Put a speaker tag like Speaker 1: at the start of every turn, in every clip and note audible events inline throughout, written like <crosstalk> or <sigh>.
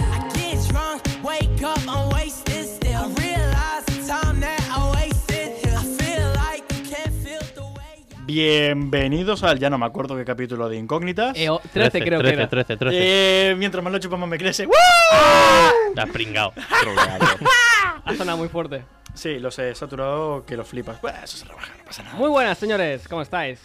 Speaker 1: I get drunk, wake up, I'm wasted still. I realize the time that I wasted here. I feel like you can't feel the way. I-
Speaker 2: Bienvenidos al ya no me acuerdo qué capítulo de Incógnitas.
Speaker 3: Eh, o- 13, creo que era.
Speaker 4: 13, 13, 13.
Speaker 2: Eh, mientras más lo chupa más me crece. ¡Woo!
Speaker 4: Te has pringado.
Speaker 3: Ha sonado muy fuerte.
Speaker 2: Sí, los he saturado que los flipas. Bueno, eso se rebaja, no pasa nada.
Speaker 3: Muy buenas, señores. ¿Cómo estáis?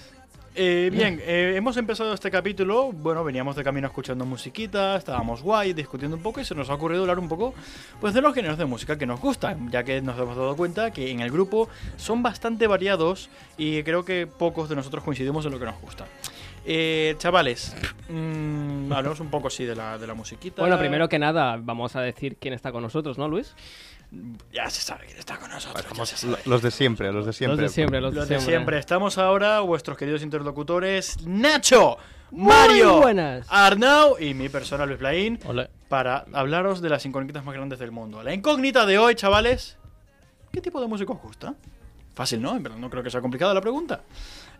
Speaker 2: Eh, bien, eh, hemos empezado este capítulo. Bueno, veníamos de camino escuchando musiquita, estábamos guay, discutiendo un poco y se nos ha ocurrido hablar un poco pues, de los géneros de música que nos gustan, ya que nos hemos dado cuenta que en el grupo son bastante variados y creo que pocos de nosotros coincidimos en lo que nos gusta. Eh, chavales, mm, hablemos un poco sí de la, de la musiquita.
Speaker 3: Bueno, primero que nada, vamos a decir quién está con nosotros, ¿no, Luis?
Speaker 2: Ya se sabe quién está con nosotros. ya se sabe.
Speaker 5: Lo- Los de siempre, los de siempre.
Speaker 3: Los de siempre, los,
Speaker 2: Los de siempre. Estamos ahora, vuestros queridos interlocutores, Nacho, Mario,
Speaker 3: buenas.
Speaker 2: Arnau y mi persona Luis Blaín,
Speaker 4: Hola.
Speaker 2: para hablaros de las incógnitas más grandes del mundo. La incógnita de hoy, chavales, ¿qué tipo de música os gusta? Fácil, ¿no? En verdad, no creo que sea complicada la pregunta.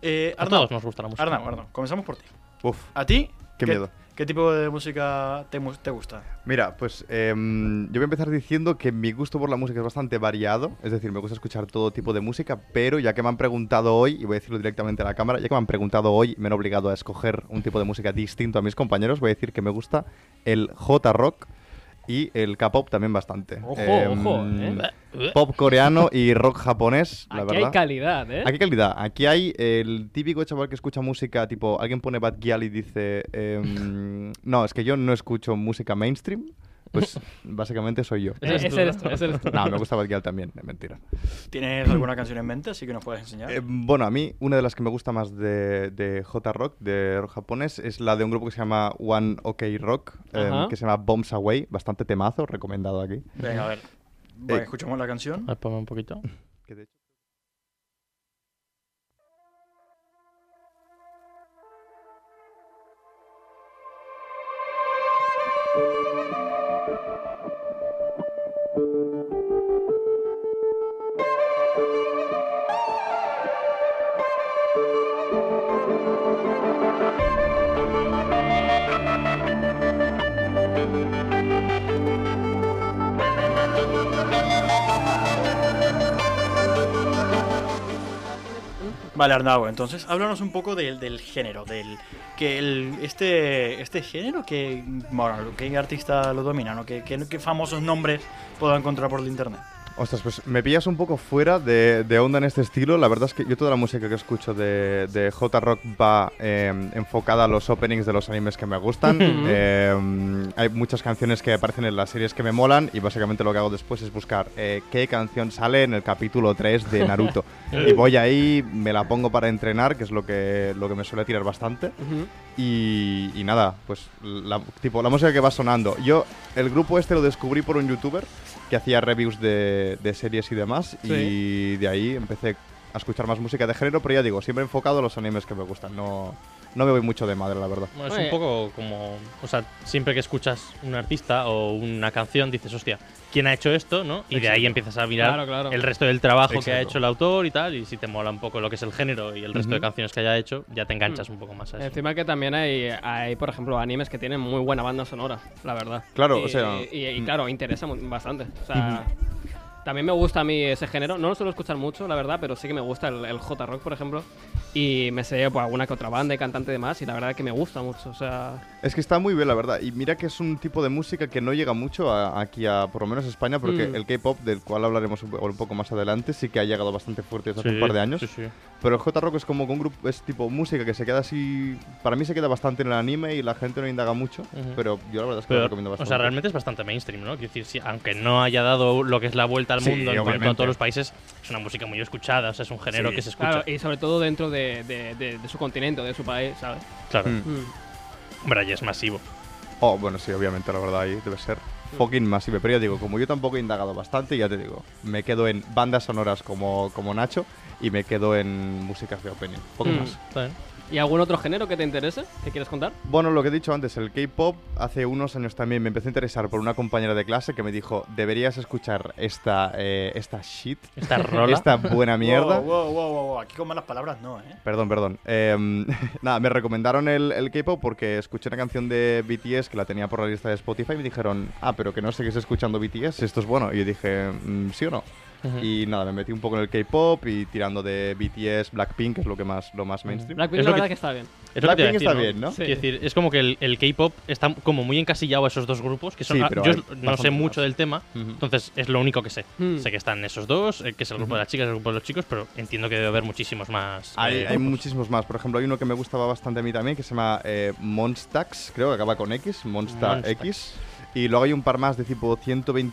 Speaker 2: Eh,
Speaker 4: A
Speaker 2: Arnau,
Speaker 4: todos nos gusta la música.
Speaker 2: Arnau, Arnau, comenzamos por ti.
Speaker 5: Uf.
Speaker 2: ¿A ti?
Speaker 5: Qué miedo.
Speaker 2: ¿Qué tipo de música te, mu- te gusta?
Speaker 5: Mira, pues em, yo voy a empezar diciendo que mi gusto por la música es bastante variado, es decir, me gusta escuchar todo tipo de música, pero ya que me han preguntado hoy, y voy a decirlo directamente a la cámara, ya que me han preguntado hoy, me han obligado a escoger un tipo de música distinto a mis compañeros, voy a decir que me gusta el J-Rock y el K-Pop también bastante.
Speaker 3: Ojo,
Speaker 5: Em,
Speaker 3: ojo, ¿eh?
Speaker 5: Pop coreano y rock japonés, la
Speaker 3: Aquí
Speaker 5: verdad.
Speaker 3: hay calidad, ¿eh?
Speaker 5: Aquí hay calidad. Aquí hay el típico chaval que escucha música, tipo, alguien pone Bad Gyal y dice,
Speaker 3: <laughs>
Speaker 5: em, no, es que yo no escucho música mainstream. Pues básicamente soy yo.
Speaker 3: Eh, Ese eres tú, ese
Speaker 5: <laughs>
Speaker 3: eres tú.
Speaker 5: No,
Speaker 3: <laughs>
Speaker 5: me gusta Bad Gyal también, eh, mentira.
Speaker 2: ¿Tienes alguna canción en mente? Así que nos puedes enseñar.
Speaker 5: Eh, bueno, a mí una de las que me gusta más de, de J-Rock, de rock japonés, es la de un grupo que se llama One OK Rock, em,
Speaker 3: Ajá.
Speaker 5: que se llama Bombs Away, bastante temazo, recomendado aquí.
Speaker 2: Venga, a
Speaker 5: eh,
Speaker 2: ver. Bueno, escuchamos la canción.
Speaker 4: A ver, ponme un poquito.
Speaker 5: Que de hecho-
Speaker 2: Vale, Arnau, entonces háblanos un poco del, del género, del que el, este este género que bueno, qué artista lo domina, ¿no? ¿Qué, qué, qué famosos nombres puedo encontrar por el internet?
Speaker 5: Ostras, pues me pillas un poco fuera de, de onda en este estilo. La verdad es que yo toda la música que escucho de, de J-Rock va eh, enfocada a los openings de los animes que me gustan. Eh, hay muchas canciones que aparecen en las series que me molan y básicamente lo que hago después es buscar eh, qué canción sale en el capítulo 3 de Naruto. y voy ahí, me la pongo para entrenar, que es lo que, lo que me suele tirar bastante.
Speaker 3: Ujú.
Speaker 5: Y, y nada, pues la, tipo la música que va sonando. Yo el grupo este lo descubrí por un youtuber que hacía reviews de, de series y demás y de ahí empecé a escuchar más música de género, pero ya digo, siempre enfocado a los animes que me gustan. No, no me voy mucho de madre, la verdad.
Speaker 4: Bueno, es
Speaker 3: Oye.
Speaker 4: un poco como. O sea, siempre que escuchas un artista o una canción, dices, hostia, ¿quién ha hecho esto? ¿no? Y de ahí empiezas a mirar
Speaker 3: Claro, claro.
Speaker 4: el resto del trabajo que ha
Speaker 5: Exacto.
Speaker 4: hecho el autor y tal. Y si te mola un poco lo que es el género y el resto de
Speaker 5: Ujú.
Speaker 4: canciones que haya hecho, ya te enganchas un poco más a eso.
Speaker 3: Mm. Encima que también hay, hay, por ejemplo, animes que tienen muy buena banda sonora, la verdad.
Speaker 5: Claro,
Speaker 3: Y-
Speaker 5: o sea- mm.
Speaker 3: Y, y claro, interesa mu- bastante. O sea, también me gusta a mí ese género. No lo suelo escuchar mucho, la verdad, pero sí que me gusta el, el J-Rock, por ejemplo. Y me sé pues, alguna que otra banda y cantante y demás, y la verdad que me gusta mucho. O sea,
Speaker 5: Es que está muy bien, la verdad. Y mira que es un tipo de música que no llega mucho a- aquí a, por lo menos a España, porque
Speaker 3: Mm.
Speaker 5: el K-pop, del cual hablaremos un, po- un poco más adelante, sí que ha llegado bastante fuerte desde hace
Speaker 4: Sí,
Speaker 5: un par de años.
Speaker 4: Sí, sí.
Speaker 5: Pero el J-Rock es como que un grupo, es tipo música que se queda así. Para mí se queda bastante en el anime y la gente no indaga mucho.
Speaker 4: Ujú.
Speaker 5: Pero yo la verdad es que lo
Speaker 4: Pero,
Speaker 5: recomiendo
Speaker 4: o
Speaker 5: bastante.
Speaker 4: sea, realmente es bastante mainstream, ¿no? Quiero decir, sí, aunque no haya dado lo que es la vuelta al
Speaker 5: Sí,
Speaker 4: mundo en cuanto a
Speaker 5: obviamente.
Speaker 4: todos los países, es una música muy escuchada, o sea, es un género que se escucha.
Speaker 3: claro, y sobre todo dentro de, de- de- de su continente o de su país, ¿sabes?
Speaker 4: Claro.
Speaker 5: Mm.
Speaker 4: Hombre, allí es masivo.
Speaker 5: Oh, bueno, sí, obviamente, la verdad, ahí debe ser
Speaker 4: Mm.
Speaker 5: fucking masive. Pero ya digo, como yo tampoco he indagado bastante, ya te digo, me quedo en bandas sonoras como, como Nacho y me quedo en músicas de opening. Poco
Speaker 3: Mm.
Speaker 5: más.
Speaker 4: Está bien.
Speaker 3: ¿Y algún otro género que te interese? ¿Que quieres contar?
Speaker 5: Bueno, lo que he dicho antes, el K-pop hace unos años también me empecé a interesar por una compañera de clase que me dijo, deberías escuchar esta, eh, esta shit,
Speaker 4: Esta rola. <laughs>
Speaker 5: esta buena mierda.
Speaker 2: Wow, wow, wow, wow, Aquí con malas palabras no, ¿eh?
Speaker 5: Perdón, perdón. Em, <laughs> nada, me recomendaron el, el K-pop porque escuché una canción de BTS que la tenía por la lista de Spotify y me dijeron, ah, pero que no sigues escuchando BTS, esto es bueno. Y yo dije, "Mm, sí o no. Y nada, me metí un poco en el K-pop y tirando de BTS, Blackpink, que es lo que más lo más mainstream.
Speaker 3: Blackpink,
Speaker 4: Es
Speaker 3: la
Speaker 4: lo que-
Speaker 3: verdad que está bien.
Speaker 4: Es lo que te iba a
Speaker 5: Blackpink
Speaker 4: decir,
Speaker 5: está bien, ¿no?
Speaker 4: Quiero decir, es como que el, el K-pop está como muy encasillado a esos dos grupos, que son.
Speaker 5: Sí,
Speaker 4: ah,
Speaker 5: pero
Speaker 4: yo
Speaker 5: hay
Speaker 4: no sé
Speaker 5: bastantes
Speaker 4: mucho
Speaker 5: más.
Speaker 4: del tema,
Speaker 5: Ujú.
Speaker 4: entonces es lo único que sé.
Speaker 3: Mm.
Speaker 4: Sé que están esos dos, eh, que es el grupo de las chicas, el grupo de los chicos, pero entiendo que debe haber muchísimos más.
Speaker 5: Hay,
Speaker 4: eh,
Speaker 5: hay
Speaker 4: grupos.
Speaker 5: muchísimos más. Por ejemplo, hay uno que me gustaba bastante a mí también, que se llama eh, Monstax, creo que acaba con X, Monsta
Speaker 4: Monstax.
Speaker 5: X. Y luego hay un par más de tipo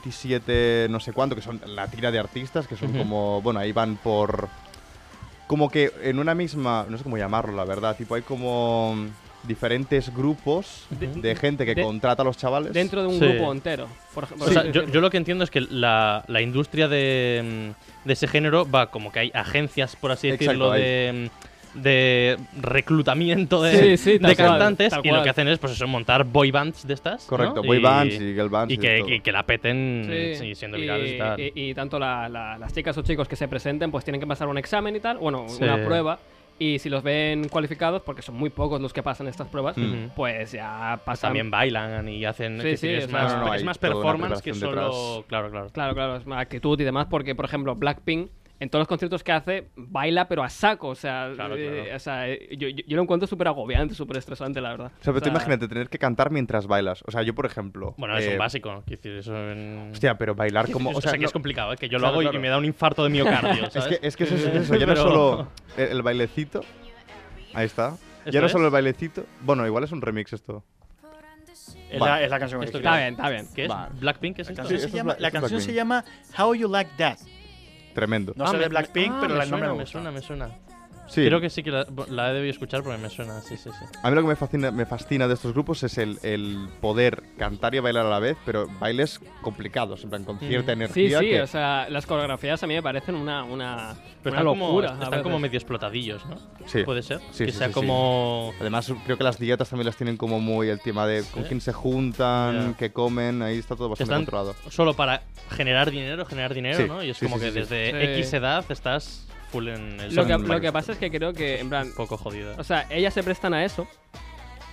Speaker 5: 127, no sé cuánto, que son la tira de artistas, que son como, bueno, ahí van por... Como que en una misma, no sé cómo llamarlo, la verdad, tipo hay como diferentes grupos de, gente que
Speaker 3: de-
Speaker 5: contrata a los chavales.
Speaker 3: Dentro de un
Speaker 4: Sí.
Speaker 3: grupo entero. Por ejemplo,
Speaker 4: O sea, yo, yo lo que entiendo es que la, la industria de, mm, de ese género va como que hay agencias, por así
Speaker 5: Exacto,
Speaker 4: decirlo,
Speaker 5: hay.
Speaker 4: de, mm, de reclutamiento de,
Speaker 3: Sí, sí,
Speaker 4: de
Speaker 3: tal cual,
Speaker 4: cantantes
Speaker 3: tal
Speaker 4: y lo
Speaker 3: cual.
Speaker 4: que hacen es pues eso, montar boy bands de estas. ¿no?
Speaker 5: Correcto, boy bands y girl bands
Speaker 4: Y
Speaker 5: y de
Speaker 4: que,
Speaker 5: todo.
Speaker 4: y que la peten sí, siendo virales y, tal.
Speaker 3: y- y tanto la- la- las chicas o chicos que se presenten, pues tienen que pasar un examen y tal, bueno,
Speaker 4: Sí.
Speaker 3: una prueba. Y si los ven cualificados, porque son muy pocos los que pasan estas pruebas,
Speaker 4: Ujú.
Speaker 3: pues ya
Speaker 4: Pues
Speaker 3: pasan.
Speaker 4: también bailan y
Speaker 3: Sí,
Speaker 4: hacen. quiero decir,
Speaker 3: sí,
Speaker 4: es,
Speaker 3: es
Speaker 4: más,
Speaker 3: una- No,
Speaker 5: no,
Speaker 4: es
Speaker 5: hay
Speaker 4: más
Speaker 5: toda una
Speaker 4: performance que
Speaker 5: preparación
Speaker 4: solo.
Speaker 5: detrás.
Speaker 4: Claro, claro.
Speaker 3: Claro, claro, es más actitud y demás, porque por ejemplo, Blackpink. En todos los conciertos que hace, baila pero a saco. O sea,
Speaker 4: Claro,
Speaker 3: eh,
Speaker 4: claro.
Speaker 3: o sea, eh, yo, yo- yo lo encuentro súper agobiante, súper estresante, la verdad.
Speaker 5: O sea, pero tú
Speaker 3: O sea,
Speaker 5: imagínate tener que cantar mientras bailas. O sea, yo, por ejemplo...
Speaker 4: Bueno, es
Speaker 5: eh,
Speaker 4: un básico. ¿no? Quiero decir, eso en-
Speaker 5: Hostia, pero bailar
Speaker 4: quiero <laughs>
Speaker 5: como...
Speaker 4: decir,
Speaker 5: O sea,
Speaker 4: que
Speaker 5: no-
Speaker 4: es complicado, ¿eh? que yo lo
Speaker 5: Claro,
Speaker 4: hago y-
Speaker 5: claro.
Speaker 4: y me da un infarto de miocardio.
Speaker 5: <laughs> Es
Speaker 4: ¿sabes?
Speaker 5: que, es que
Speaker 4: <laughs>
Speaker 5: eso es eso, ya no es
Speaker 4: Pero-
Speaker 5: solo
Speaker 4: <laughs>
Speaker 5: el, el bailecito. Ahí está.
Speaker 4: ¿Esto
Speaker 5: Ya no es solo
Speaker 4: es?
Speaker 5: el bailecito. Bueno, igual es un remix esto.
Speaker 2: Es,
Speaker 5: Vale.
Speaker 2: la, es la canción
Speaker 4: Esto
Speaker 2: original.
Speaker 3: Está bien, está bien.
Speaker 4: ¿Qué es?
Speaker 5: Vale.
Speaker 4: ¿Blackpink es
Speaker 2: La
Speaker 4: esto?
Speaker 2: canción,
Speaker 5: Sí,
Speaker 2: se
Speaker 5: esto es
Speaker 2: llama,
Speaker 5: Bla-
Speaker 2: la
Speaker 5: esto es
Speaker 2: canción se
Speaker 5: Blackpink.
Speaker 2: llama How You Like That.
Speaker 5: Tremendo.
Speaker 2: No
Speaker 4: Ah,
Speaker 2: sé
Speaker 4: me-
Speaker 2: de Blackpink,
Speaker 4: ah,
Speaker 2: pero
Speaker 4: me
Speaker 2: el nombre me
Speaker 4: suena, me
Speaker 2: gusta.
Speaker 4: suena, me suena.
Speaker 5: Sí.
Speaker 4: Creo que sí que la, la he debido escuchar porque me suena, sí, sí, sí.
Speaker 5: A mí lo que me fascina, me fascina de estos grupos es el, el poder cantar y bailar a la vez, pero bailes complicados, en plan, con
Speaker 4: Mm.
Speaker 5: cierta
Speaker 3: Sí,
Speaker 5: energía.
Speaker 3: sí,
Speaker 5: que-
Speaker 3: o sea, las coreografías a mí me parecen una, una,
Speaker 4: Pero
Speaker 3: una
Speaker 4: están, como,
Speaker 3: locura. a
Speaker 4: están
Speaker 3: veces.
Speaker 4: como medio explotadillos, ¿no?
Speaker 5: Sí.
Speaker 4: ¿Puede ser?
Speaker 5: Sí,
Speaker 4: que
Speaker 5: sí,
Speaker 4: sea
Speaker 5: sí, sí.
Speaker 4: como...
Speaker 5: Además, creo que las dietas también las tienen como muy el tema de con
Speaker 4: Sí.
Speaker 5: quién se juntan,
Speaker 4: Ya.
Speaker 5: qué comen, ahí está todo
Speaker 4: que
Speaker 5: bastante
Speaker 4: están
Speaker 5: controlado.
Speaker 4: solo para generar dinero, generar dinero,
Speaker 5: Sí,
Speaker 4: ¿no? Y es
Speaker 5: sí,
Speaker 4: como
Speaker 5: sí,
Speaker 4: que
Speaker 5: sí, sí.
Speaker 4: desde
Speaker 3: Sí.
Speaker 4: X edad estás full en el...
Speaker 3: Lo que,
Speaker 5: son
Speaker 3: lo que
Speaker 5: varios
Speaker 3: pasa es que creo que, en plan,
Speaker 4: Un poco jodido.
Speaker 3: o sea, ellas se prestan a eso.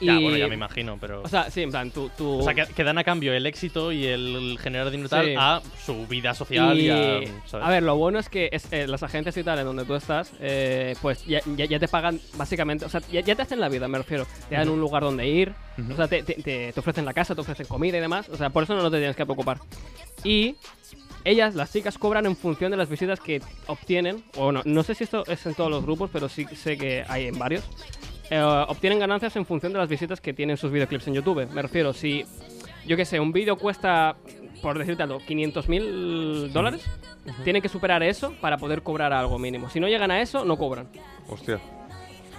Speaker 3: Y,
Speaker 4: Ya, bueno, ya me imagino, pero...
Speaker 3: O sea, sí, en plan, tú. tú
Speaker 4: O sea, que, que dan a cambio el éxito y el generar dinero
Speaker 3: Sí.
Speaker 4: tal a su vida social y,
Speaker 3: y-
Speaker 4: a... ¿sabes?
Speaker 3: a ver, lo bueno es que es- eh, las agencias y tal en donde tú estás, eh, pues ya, ya- ya te pagan básicamente, o sea, ya, ya te hacen la vida, me refiero. Te dan un lugar donde ir, o sea, te, te- te- te ofrecen la casa, te ofrecen comida y demás, o sea, por eso no te tienes que preocupar. Y ellas, las chicas, cobran en función de las visitas que obtienen, o no, no sé si esto es en todos los grupos, pero sí sé que hay en varios. Eh, obtienen ganancias en función de las visitas que tienen sus videoclips en YouTube. Me refiero, si, yo qué sé, un vídeo cuesta, por decirte algo, 500 mil dólares, tienen que superar eso para poder cobrar algo mínimo. Si no llegan a eso, no cobran.
Speaker 5: Hostia.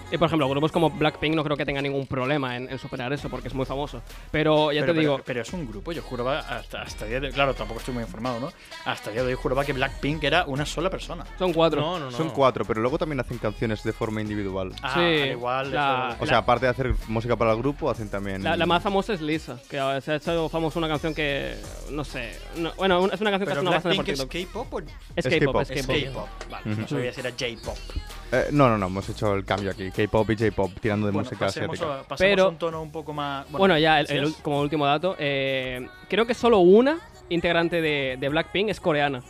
Speaker 3: Y por ejemplo, grupos como Blackpink no creo que tengan ningún problema en, en superar eso porque es muy famoso. Pero
Speaker 2: pero,
Speaker 3: ya te
Speaker 2: pero-
Speaker 3: digo,
Speaker 2: pero es un grupo, yo juraba hasta, hasta día de Claro, tampoco estoy muy informado, ¿no? Hasta día de hoy juraba que Blackpink era una sola persona.
Speaker 3: son cuatro.
Speaker 4: No, no, no.
Speaker 5: Son cuatro, pero luego también hacen canciones de forma individual.
Speaker 2: Ah,
Speaker 3: Sí,
Speaker 2: al igual.
Speaker 3: la-
Speaker 2: eso-
Speaker 5: O sea, aparte de hacer música para el grupo, hacen también...
Speaker 3: La, la más famosa es Lisa, que ahora se ha hecho famosa una canción que, no sé, no- bueno, una- es una canción que
Speaker 2: pero
Speaker 3: ha sonado bastante por
Speaker 2: Blackpink es
Speaker 3: TikTok.
Speaker 2: K-pop o
Speaker 3: Es
Speaker 5: es
Speaker 3: K-pop,
Speaker 5: K-pop.
Speaker 3: es
Speaker 2: es
Speaker 3: K-pop.
Speaker 2: K-pop. Vale, pues no sabía si era J-pop.
Speaker 5: Eh, no, no, no, hemos hecho el cambio aquí. K-pop y J-pop, tirando de
Speaker 2: Bueno,
Speaker 5: música
Speaker 2: pasemos,
Speaker 5: asiática. Eh,
Speaker 2: a, pasemos
Speaker 3: Pero-
Speaker 2: a un tono un poco más.
Speaker 3: Bueno, ya el- el
Speaker 2: ¿sí es?
Speaker 3: ul- como último dato, eh, creo que solo una integrante de, de Blackpink es coreana.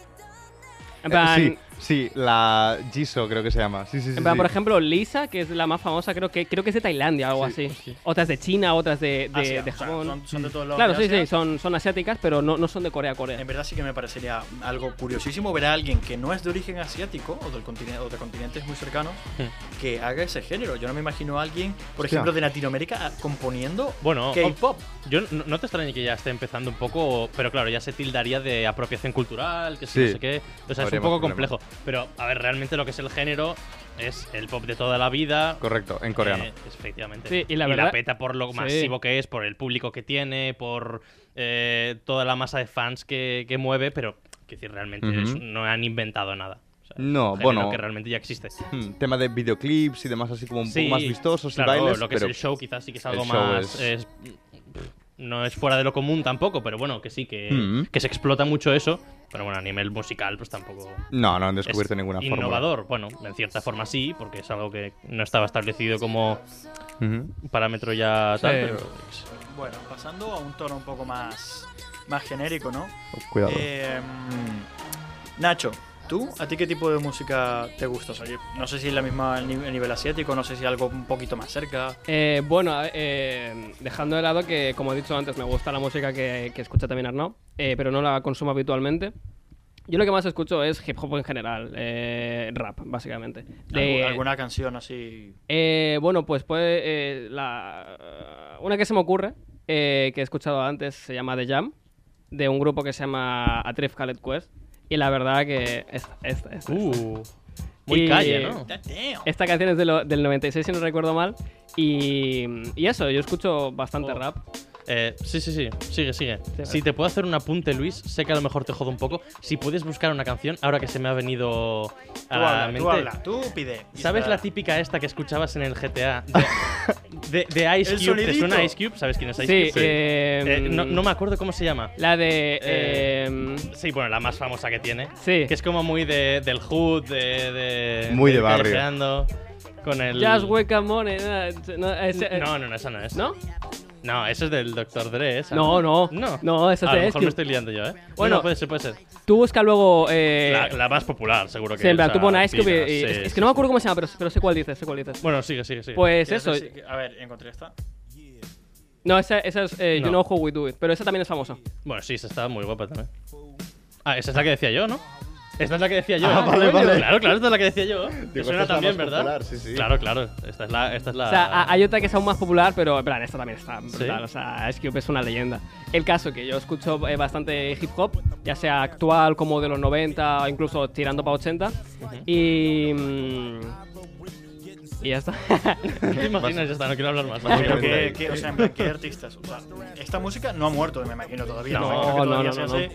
Speaker 3: En plan,
Speaker 5: Eh, sí, sí, la Jisoo creo que se llama. Sí, sí, sí.
Speaker 3: En plan,
Speaker 5: sí.
Speaker 3: por ejemplo, Lisa, que es la más famosa, creo que creo que es de Tailandia o algo así. Otras de China, otras de, de,
Speaker 2: pues Asia,
Speaker 3: de
Speaker 2: o sea,
Speaker 3: Japón.
Speaker 2: son, son de todos lados.
Speaker 3: claro,
Speaker 2: de
Speaker 3: sí, sí,
Speaker 2: Asia. Em.
Speaker 3: son, son asiáticas, pero no, no son de Corea, Corea.
Speaker 2: En verdad sí que me parecería algo curiosísimo ver a alguien que no es de origen asiático o, del continente, o de continentes muy cercanos
Speaker 3: Hmm.
Speaker 2: que haga ese género. Yo no me imagino a alguien, por
Speaker 5: Hostia.
Speaker 2: ejemplo, de Latinoamérica ah, componiendo
Speaker 4: Bueno,
Speaker 2: K-pop.
Speaker 3: oh.
Speaker 4: Yo no, no te extrañe que ya esté empezando un poco, pero claro, ya se tildaría de apropiación cultural, que si
Speaker 5: Sí.
Speaker 4: no sé qué. O sea, es
Speaker 5: Habría
Speaker 4: un
Speaker 5: más
Speaker 4: poco
Speaker 5: problema.
Speaker 4: complejo. Pero, a ver, realmente lo que es el género es el pop de toda la vida.
Speaker 5: Correcto, en coreano.
Speaker 4: Eh, efectivamente.
Speaker 3: Sí, y la verdad-
Speaker 4: peta por lo
Speaker 3: Sí.
Speaker 4: masivo que es, por el público que tiene, por eh, toda la masa de fans que, que mueve, pero quiero decir, realmente
Speaker 5: Ujú.
Speaker 4: es- no han inventado nada. sea,
Speaker 5: No,
Speaker 4: un género
Speaker 5: bueno.
Speaker 4: Que realmente ya existe.
Speaker 5: Hmm, tema de videoclips y demás así como un
Speaker 4: Sí,
Speaker 5: poco más vistosos
Speaker 4: claro,
Speaker 5: y bailes.
Speaker 4: Lo que
Speaker 5: pero
Speaker 4: es el show quizás sí que es
Speaker 5: el
Speaker 4: algo
Speaker 5: show
Speaker 4: más...
Speaker 5: es-
Speaker 4: es- pff, no es fuera de lo común tampoco, pero bueno, que sí, que,
Speaker 5: Mm.
Speaker 4: que se explota mucho eso. Pero bueno, a nivel musical pues tampoco...
Speaker 5: No, no han descubierto
Speaker 4: es
Speaker 5: ninguna forma.
Speaker 4: innovador. Bueno, en cierta forma sí, porque es algo que no estaba establecido como un parámetro ya tal, pero
Speaker 2: Pues, Bueno, pasando a un tono un poco más, más genérico, ¿no?
Speaker 5: Cuidado.
Speaker 2: Eh, Nacho, ¿tú a ti qué tipo de música te gusta? O sea, yo no sé si es la misma a ni- a nivel asiático, no sé si algo un poquito más cerca.
Speaker 3: Eh, bueno, a- eh, dejando de lado que, como he dicho antes, me gusta la música que, que escucha también Arnau, eh, pero no la consumo habitualmente. Yo lo que más escucho es hip hop en general, eh, rap, básicamente. De-
Speaker 2: Algu- alguna canción así.
Speaker 3: eh, bueno, pues puede, eh, la, una que se me ocurre, eh, que he escuchado antes, se llama The Jam, de un grupo que se llama Atrif Khaled Quest. Y la verdad que esta, esta, esta,
Speaker 4: Uh, muy
Speaker 3: Y-
Speaker 4: calle, ¿no?
Speaker 3: esta canción es de lo- del 96, si no recuerdo mal. Y, y eso, yo escucho bastante
Speaker 4: Oh.
Speaker 3: rap.
Speaker 4: Eh, sí, sí, sí, sigue, sigue.
Speaker 3: Sí.
Speaker 4: Si te puedo hacer un apunte, Luis, sé que a lo mejor te jodo un poco. Si puedes buscar una canción, ahora que se me ha venido
Speaker 2: Tú
Speaker 4: a la
Speaker 2: habla,
Speaker 4: mente.
Speaker 2: tú habla, tú pide. Y
Speaker 4: ¿Sabes
Speaker 2: está.
Speaker 4: la típica esta que escuchabas en
Speaker 2: <laughs>
Speaker 4: el GTA de, de- de Ice
Speaker 2: El
Speaker 4: Cube? ¿Te suena
Speaker 2: sonidito.
Speaker 4: Ice Cube? ¿Sabes quién es Ice
Speaker 3: Sí,
Speaker 4: Cube?
Speaker 3: eh,
Speaker 4: Eh, no, no me acuerdo cómo se llama.
Speaker 3: La de.
Speaker 4: Eh,
Speaker 3: em,
Speaker 4: Sí, bueno, la más famosa que tiene.
Speaker 3: sí.
Speaker 4: Que es como muy de, del hood, de, de-
Speaker 5: Muy de
Speaker 4: ir
Speaker 5: barrio.
Speaker 4: callejeando, Con el...
Speaker 3: Just wake up morning. eh, No, ese- eh,
Speaker 4: No, no, no, esa no es.
Speaker 3: ¿No?
Speaker 4: No, esa es del Dr. Dre, esa.
Speaker 3: No, no.
Speaker 4: No.
Speaker 3: No, esa es
Speaker 4: A
Speaker 3: de Ice
Speaker 4: lo mejor me
Speaker 3: Cube.
Speaker 4: estoy liando yo, ¿eh? Bueno,
Speaker 3: Bueno.
Speaker 4: puede ser, puede ser.
Speaker 3: Tú busca luego. Eh,
Speaker 4: la, la más popular, seguro que.
Speaker 3: sí, en plan,
Speaker 4: o
Speaker 3: tú
Speaker 4: sea,
Speaker 3: pones Ice Cube
Speaker 4: Dina,
Speaker 3: y- y-
Speaker 4: sí,
Speaker 3: es, es
Speaker 4: sí,
Speaker 3: que no me
Speaker 4: sí.
Speaker 3: acuerdo cómo se llama, pero, pero sé cuál dices, sé cuál dices.
Speaker 4: Bueno, sigue, sigue, sigue.
Speaker 3: Pues
Speaker 2: ¿Quieres
Speaker 3: eso.
Speaker 2: decir- A ver, encontré esta.
Speaker 3: No, esa, esa es eh, You
Speaker 4: No.
Speaker 3: Know How We Do It. Pero esa también es famosa.
Speaker 4: Bueno, sí, esa estaba muy guapa también. Ah, esa es la que decía yo, ¿no? Esta es la que decía yo. ¿eh?
Speaker 5: Ah, vale,
Speaker 4: coño.
Speaker 5: vale.
Speaker 4: Claro, claro, esta es la que decía yo. Te
Speaker 5: Digo, esta
Speaker 4: suena
Speaker 5: es la
Speaker 4: también,
Speaker 5: más
Speaker 4: ¿verdad?
Speaker 5: popular, sí, sí.
Speaker 4: Claro, claro. Esta es la. Esta es la...
Speaker 3: O sea, a- hay otra que es aún más popular, pero en plan, esta también está
Speaker 4: Ah. ¿Sí?
Speaker 3: brutal. O sea, Ice Cube es una leyenda. El caso que yo escucho eh, bastante hip hop, ya sea actual como de los 90 o incluso tirando para 80. Y. mm, y ya está. <laughs>
Speaker 4: ¿No <laughs> te imaginas ya está? No quiero hablar más.
Speaker 2: Pero que, que- o sea, en plan, ¿qué artistas? O sea, esta música no ha muerto, me imagino, todavía.
Speaker 4: No,
Speaker 2: me imagino que
Speaker 3: no,
Speaker 2: todavía
Speaker 3: no,
Speaker 2: se
Speaker 3: no,
Speaker 2: hace.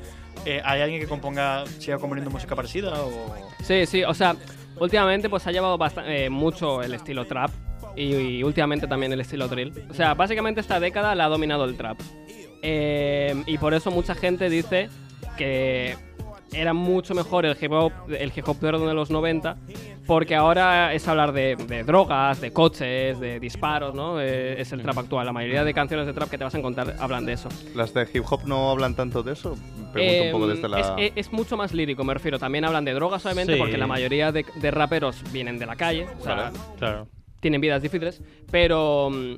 Speaker 2: Eh, ¿Hay alguien que componga, siga componiendo música parecida o...?
Speaker 3: sí, sí, o sea, últimamente pues ha llevado bastan- eh, mucho el estilo trap. Y, y últimamente también el estilo drill. O sea, básicamente esta década la ha dominado el trap. Eh, y por eso mucha gente dice que era mucho mejor el hip hop, el hip hop de orden de los 90, porque ahora es hablar de, de drogas, de coches, de disparos, ¿no? Eh, es el trap actual. La mayoría de canciones de trap que te vas a encontrar hablan de eso.
Speaker 5: Las de hip hop no hablan tanto de eso. Pregunto
Speaker 3: Eh,
Speaker 5: un poco desde la.
Speaker 3: es, es- es mucho más lírico, me refiero. También hablan de drogas, obviamente,
Speaker 4: Sí.
Speaker 3: porque la mayoría de, de raperos vienen de la calle, o sea,
Speaker 4: Claro, claro.
Speaker 3: tienen vidas difíciles, pero mm,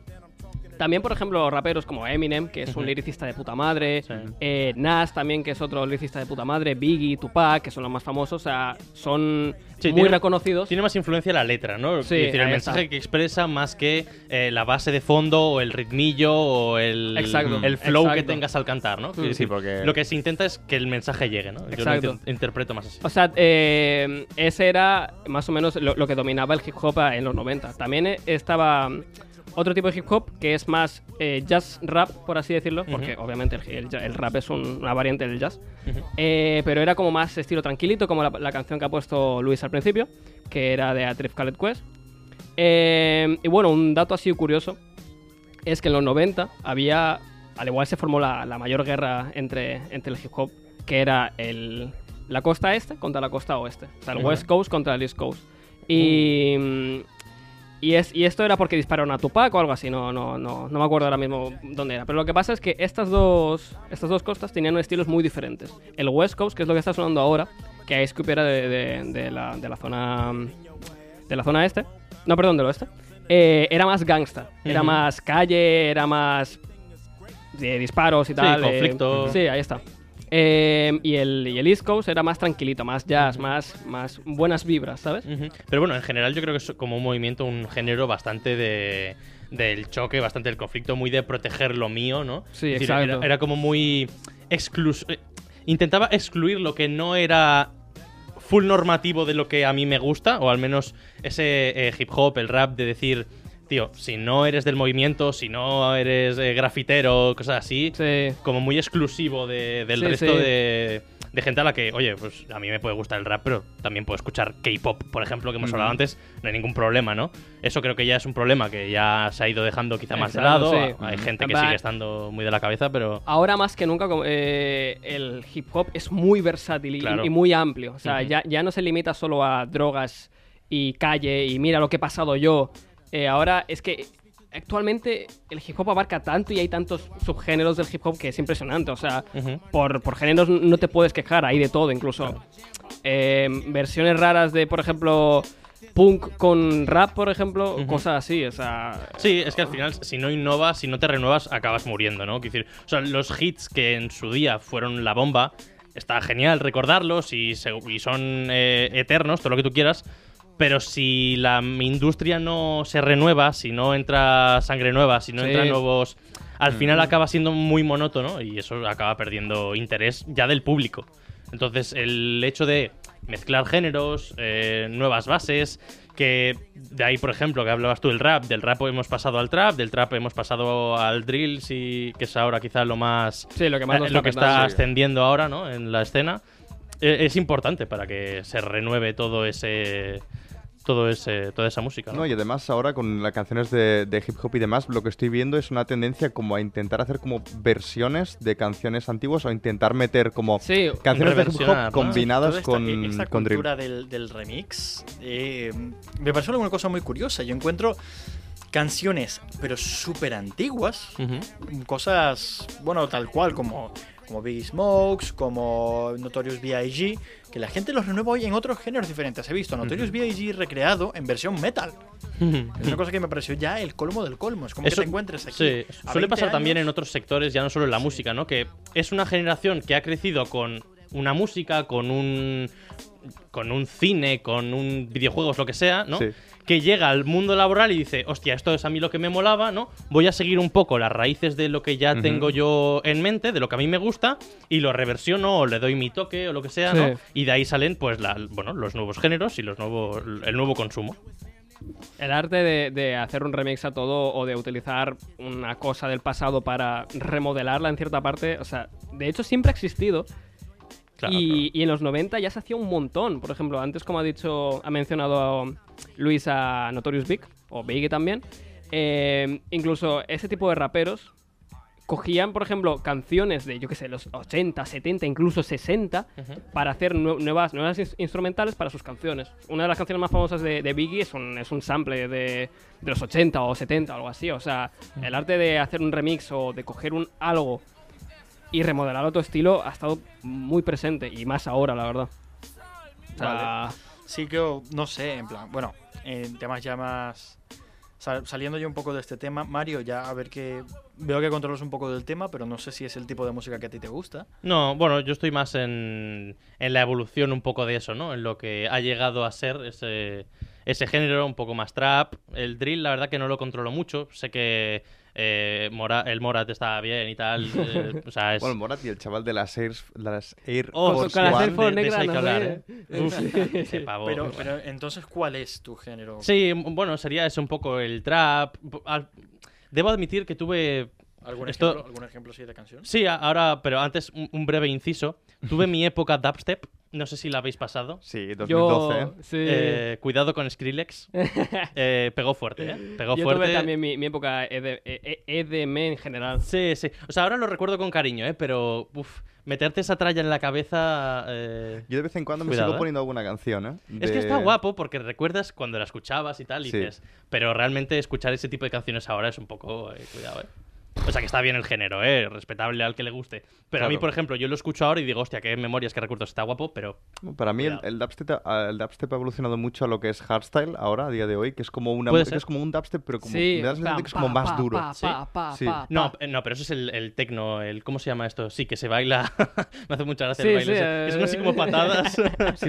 Speaker 3: también, por ejemplo, raperos como Eminem, que es un
Speaker 4: Ujú.
Speaker 3: liricista de puta madre,
Speaker 4: Sí.
Speaker 3: eh, Nas también, que es otro liricista de puta madre, Biggie, Tupac, que son los más famosos, o sea, son
Speaker 4: Sí,
Speaker 3: muy
Speaker 4: tiene-
Speaker 3: reconocidos.
Speaker 4: Tiene más influencia la letra, ¿no?
Speaker 3: Sí,
Speaker 4: es decir, el
Speaker 3: ahí
Speaker 4: mensaje
Speaker 3: está.
Speaker 4: que expresa más que eh, la base de fondo o el ritmillo o el,
Speaker 3: Exacto,
Speaker 4: el flow que
Speaker 3: exacto.
Speaker 4: tengas al cantar, ¿no? Quiero
Speaker 5: Sí,
Speaker 4: decir,
Speaker 5: porque-
Speaker 4: Lo que se intenta es que el mensaje llegue, ¿no? Yo lo
Speaker 3: Exacto.
Speaker 4: inter- interpreto más así.
Speaker 3: O sea, eh, ese era más o menos lo, lo que dominaba el hip hop en los 90. También eh, estaba mm, otro tipo de hip hop que es más eh, jazz rap, por así decirlo, porque obviamente el, el ja- el rap es un- una variante del jazz. Eh, pero era como más estilo tranquilito, como la, la canción que ha puesto Luis al principio, que era de Atrif Khaled Quest. Eh, y bueno, un dato así curioso es que en los 90 había, al igual se formó la, la mayor guerra entre, entre el hip hop, que era el, la costa este contra la costa oeste. O sea, el
Speaker 4: Ujú.
Speaker 3: West Coast contra el East Coast. Y, mm, y, es, y esto era porque dispararon a Tupac o algo así, no, no, no, no me acuerdo ahora mismo dónde era. Pero lo que pasa es que estas dos, estas dos costas tenían estilos muy diferentes. El West Coast, que es lo que está sonando ahora, que Ice Cube era de, de- de la, de la zona mm, de la zona este, no, perdón, del oeste, eh, era más gangsta, era
Speaker 4: Ujú.
Speaker 3: más calle, era más de disparos y
Speaker 4: Sí,
Speaker 3: tal. eh,
Speaker 4: conflicto.
Speaker 3: sí, ahí está. Eh, y, el, y el East Coast era más tranquilito, más jazz, más, más buenas vibras, ¿sabes?
Speaker 4: Ujú. Pero bueno, en general yo creo que es como un movimiento, un género bastante de del choque, bastante del conflicto, muy de proteger lo mío, ¿no?
Speaker 3: Sí,
Speaker 4: Es
Speaker 3: exacto.
Speaker 4: Era, era como muy exclus eh, intentaba excluir lo que no era full normativo de lo que a mí me gusta, o al menos ese eh, hip hop, el rap, de decir, tío, si no eres del movimiento, si no eres eh, grafitero, cosas así,
Speaker 3: Sí.
Speaker 4: como muy exclusivo de- del
Speaker 3: Sí,
Speaker 4: resto
Speaker 3: sí.
Speaker 4: De, de gente a la que, oye, pues a mí me puede gustar el rap, pero también puedo escuchar K-pop, por ejemplo, que hemos hablado antes, no hay ningún problema, ¿no? Eso creo que ya es un problema que ya se ha ido dejando quizá más de
Speaker 3: Exacto,
Speaker 4: lado.
Speaker 3: sí.
Speaker 4: Hay gente que
Speaker 3: But-
Speaker 4: sigue estando muy de la cabeza, pero
Speaker 3: Ahora más que nunca como, eh, el hip hop es muy versátil y,
Speaker 4: Claro.
Speaker 3: y muy amplio. O sea,
Speaker 4: Ujú.
Speaker 3: ya, ya no se limita solo a drogas y calle y mira lo que he pasado yo. Eh, ahora es que actualmente el hip hop abarca tanto y hay tantos subgéneros del hip hop que es impresionante. O sea,
Speaker 4: Ujú.
Speaker 3: por, por géneros no te puedes quejar, hay de todo incluso. Eh, versiones raras de, por ejemplo, punk con rap, por ejemplo, cosas así. O sea,
Speaker 4: Sí, es que al final, si no innovas, si no te renuevas, acabas muriendo, ¿no? Quiero decir, o sea, los hits que en su día fueron la bomba, está genial recordarlos y, se- y son eh, eternos, todo lo que tú quieras. Pero si la industria no se renueva, si no entra sangre nueva, si no
Speaker 3: Sí.
Speaker 4: entran nuevos. Al final acaba siendo muy monótono y eso acaba perdiendo interés ya del público. Entonces, el hecho de mezclar géneros, eh, nuevas bases, que de ahí, por ejemplo, que hablabas tú del rap, del rap hemos pasado al trap, del trap hemos pasado al drill, sí, que es ahora quizá lo más.
Speaker 3: Sí, lo que más nos
Speaker 4: eh, lo
Speaker 3: está
Speaker 4: que está
Speaker 3: petando.
Speaker 4: ascendiendo ahora, ¿no? En la escena. Eh, Es importante para que se renueve todo ese. Todo ese, toda esa música. ¿no?
Speaker 5: No, y además ahora con las canciones de, de hip hop y demás, lo que estoy viendo es una tendencia como a intentar hacer como versiones de canciones antiguas o intentar meter como
Speaker 3: Sí,
Speaker 5: canciones de hip hop
Speaker 4: reversionar, ¿no?
Speaker 5: combinadas
Speaker 2: Toda esta-
Speaker 5: con,
Speaker 2: e- esta
Speaker 5: con drill.
Speaker 2: cultura del, del remix eh, me parece una cosa muy curiosa. Yo encuentro canciones, pero súper antiguas,
Speaker 4: Ujú.
Speaker 2: cosas, bueno, tal cual, como, como Big Smokes, como Notorious B.I.G., que la gente los renueva hoy en otros géneros diferentes. He visto Notorious B.I.G. recreado en versión metal.
Speaker 4: <laughs>
Speaker 2: Es una cosa que me pareció ya el colmo del colmo. Es como
Speaker 4: Eso-
Speaker 2: que te encuentres aquí.
Speaker 4: Sí,
Speaker 2: a
Speaker 4: suele
Speaker 2: 20
Speaker 4: pasar también en
Speaker 2: años.
Speaker 4: otros sectores, ya no solo en la música, ¿no? Que es una generación que ha crecido con una música, con un con un cine, con un videojuegos, lo que sea, ¿no?
Speaker 5: Sí.
Speaker 4: Que llega al mundo laboral y dice, hostia, esto es a mí lo que me molaba, ¿no? Voy a seguir un poco las raíces de lo que ya
Speaker 5: Ujú.
Speaker 4: tengo yo en mente, de lo que a mí me gusta, y lo reversiono o le doy mi toque o lo que sea,
Speaker 3: Sí.
Speaker 4: ¿no? Y de ahí salen, pues, la, bueno, los nuevos géneros y los nuevos, el nuevo consumo.
Speaker 3: El arte de, de hacer un remix a todo o de utilizar una cosa del pasado para remodelarla en cierta parte, o sea, de hecho siempre ha existido
Speaker 4: Claro,
Speaker 3: y,
Speaker 4: claro.
Speaker 3: y en los 90 ya se hacía un montón. Por ejemplo, antes como ha dicho, ha mencionado Luis a Notorious Big o Biggie también, eh, incluso ese tipo de raperos cogían, por ejemplo, canciones de, yo qué sé, los 80, 70, incluso 60, para hacer nue- nuevas, nuevas ins- instrumentales para sus canciones. Una de las canciones más famosas de, de Biggie es un, es un sample de, de los 80 o 70 o algo así. O sea, el arte de hacer un remix o de coger un algo y remodelarlo a tu estilo ha estado muy presente y más ahora, la verdad. O sea,
Speaker 2: Vale. Sí que, o- no sé, en plan, bueno, en temas ya más... sal- Saliendo yo un poco de este tema, Mario, ya a ver que... Veo que controlas un poco del tema, pero no sé si es el tipo de música que a ti te gusta.
Speaker 4: No, bueno, yo estoy más en, en la evolución un poco de eso, ¿no? En lo que ha llegado a ser ese, ese género, un poco más trap. El drill, la verdad que no lo controlo mucho. Sé que eh, Mora- el Morat está bien y tal.
Speaker 2: <laughs>
Speaker 4: eh, o sea, es...
Speaker 5: Bueno, Morat y el chaval de las Air, las Air
Speaker 4: Oh,
Speaker 5: Force
Speaker 3: con las
Speaker 5: One.
Speaker 3: Air Force
Speaker 4: de- de eso hay que
Speaker 3: negras,
Speaker 4: hablar,
Speaker 3: no
Speaker 4: ¿eh? Uf, <laughs> ese pavo.
Speaker 2: Pero, pero entonces, ¿cuál es tu género?
Speaker 4: Sí, bueno, sería eso un poco el trap. Al- Debo admitir que tuve
Speaker 2: ¿Algún,
Speaker 4: esto-
Speaker 2: ejemplo, ¿Algún ejemplo sí de canción?
Speaker 4: Sí, a- ahora, pero antes un, un breve inciso. Tuve mi época dubstep, no sé si la habéis pasado.
Speaker 5: Sí,
Speaker 3: yo,
Speaker 5: 2012. ¿eh?
Speaker 3: sí.
Speaker 4: Eh, cuidado con
Speaker 3: <laughs>
Speaker 4: Skrillex. Eh, pegó fuerte, ¿eh? Pegó
Speaker 3: yo
Speaker 4: fuerte.
Speaker 3: tuve también mi, mi época ED- eh, EDM en general.
Speaker 4: Sí, sí. O sea, ahora lo recuerdo con cariño, ¿eh? Pero, uff, meterte esa tralla en la cabeza... eh,
Speaker 5: Yo de vez en cuando me
Speaker 4: Cuidado,
Speaker 5: sigo
Speaker 4: ¿eh?
Speaker 5: poniendo alguna canción, ¿eh?
Speaker 4: Es que
Speaker 5: De-
Speaker 4: está guapo porque recuerdas cuando la escuchabas y tal, y
Speaker 5: Sí.
Speaker 4: dices... Pero realmente escuchar ese tipo de canciones ahora es un poco... eh, cuidado, ¿eh? O sea, que está bien el género, ¿eh? Respetable al que le guste. Pero a mí,
Speaker 5: Claro.
Speaker 4: por ejemplo, yo lo escucho ahora y digo, hostia, qué memorias, qué recuerdos, está guapo, pero...
Speaker 5: Para mí el,
Speaker 4: Cuidado.
Speaker 5: el dubstep, ha- el dubstep ha evolucionado mucho a lo que es hardstyle ahora, a día de hoy, que es como una
Speaker 4: Puede
Speaker 5: que
Speaker 4: ser.
Speaker 5: es como un dubstep, pero como
Speaker 3: Sí,
Speaker 5: me da la sensación
Speaker 3: plan,
Speaker 5: de que es como
Speaker 3: pa,
Speaker 5: más
Speaker 3: pa,
Speaker 5: duro.
Speaker 3: pa,
Speaker 4: Sí.
Speaker 3: pa, pa,
Speaker 5: Sí.
Speaker 3: pa,
Speaker 4: No,
Speaker 3: pa.
Speaker 4: eh, no, pero eso es el, el tecno, el ¿cómo se llama esto? Sí, que se baila. <laughs> Me hace mucha gracia
Speaker 3: Sí,
Speaker 4: el baile.
Speaker 3: sí,
Speaker 4: ese. Que son así como
Speaker 3: eh.
Speaker 4: patadas.
Speaker 5: Sí,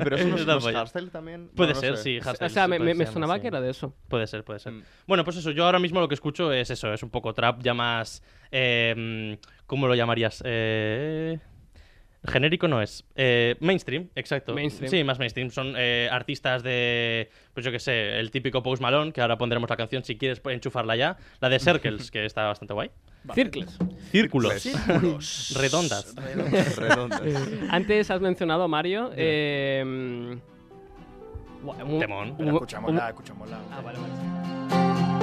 Speaker 5: pero
Speaker 4: <laughs>
Speaker 5: eso no es,
Speaker 4: una
Speaker 5: no es
Speaker 4: polla.
Speaker 5: hardstyle también.
Speaker 4: Puede
Speaker 5: No, no
Speaker 4: ser,
Speaker 5: sé. <laughs>
Speaker 4: sí,
Speaker 3: O
Speaker 4: hardstyle,
Speaker 3: sea, me, me-
Speaker 4: puede
Speaker 3: me
Speaker 4: ser,
Speaker 3: sonaba
Speaker 4: sí.
Speaker 3: que era de eso.
Speaker 4: Puede ser, puede ser.
Speaker 5: Mm.
Speaker 4: Bueno, pues eso, yo ahora mismo lo que escucho es eso, es un em, poco trap ya más. eh, ¿Cómo lo llamarías? Eh, Genérico no es. Eh, mainstream, exacto.
Speaker 3: Mainstream.
Speaker 4: Sí, más mainstream. Son eh, artistas de, pues yo qué sé, el típico Post Malone, que ahora pondremos la canción si quieres puedes enchufarla ya. La de Circles, que está bastante guay. <laughs>
Speaker 3: Circles.
Speaker 4: Círculos.
Speaker 2: Círculos.
Speaker 4: <laughs> Redondas.
Speaker 2: Redondas.
Speaker 3: Antes has mencionado a Mario. Eh, guau, un-
Speaker 4: Temón.
Speaker 3: un-
Speaker 2: La escuchamos,
Speaker 3: un-
Speaker 2: la escuchamos. la-
Speaker 3: Ah, vale, vale.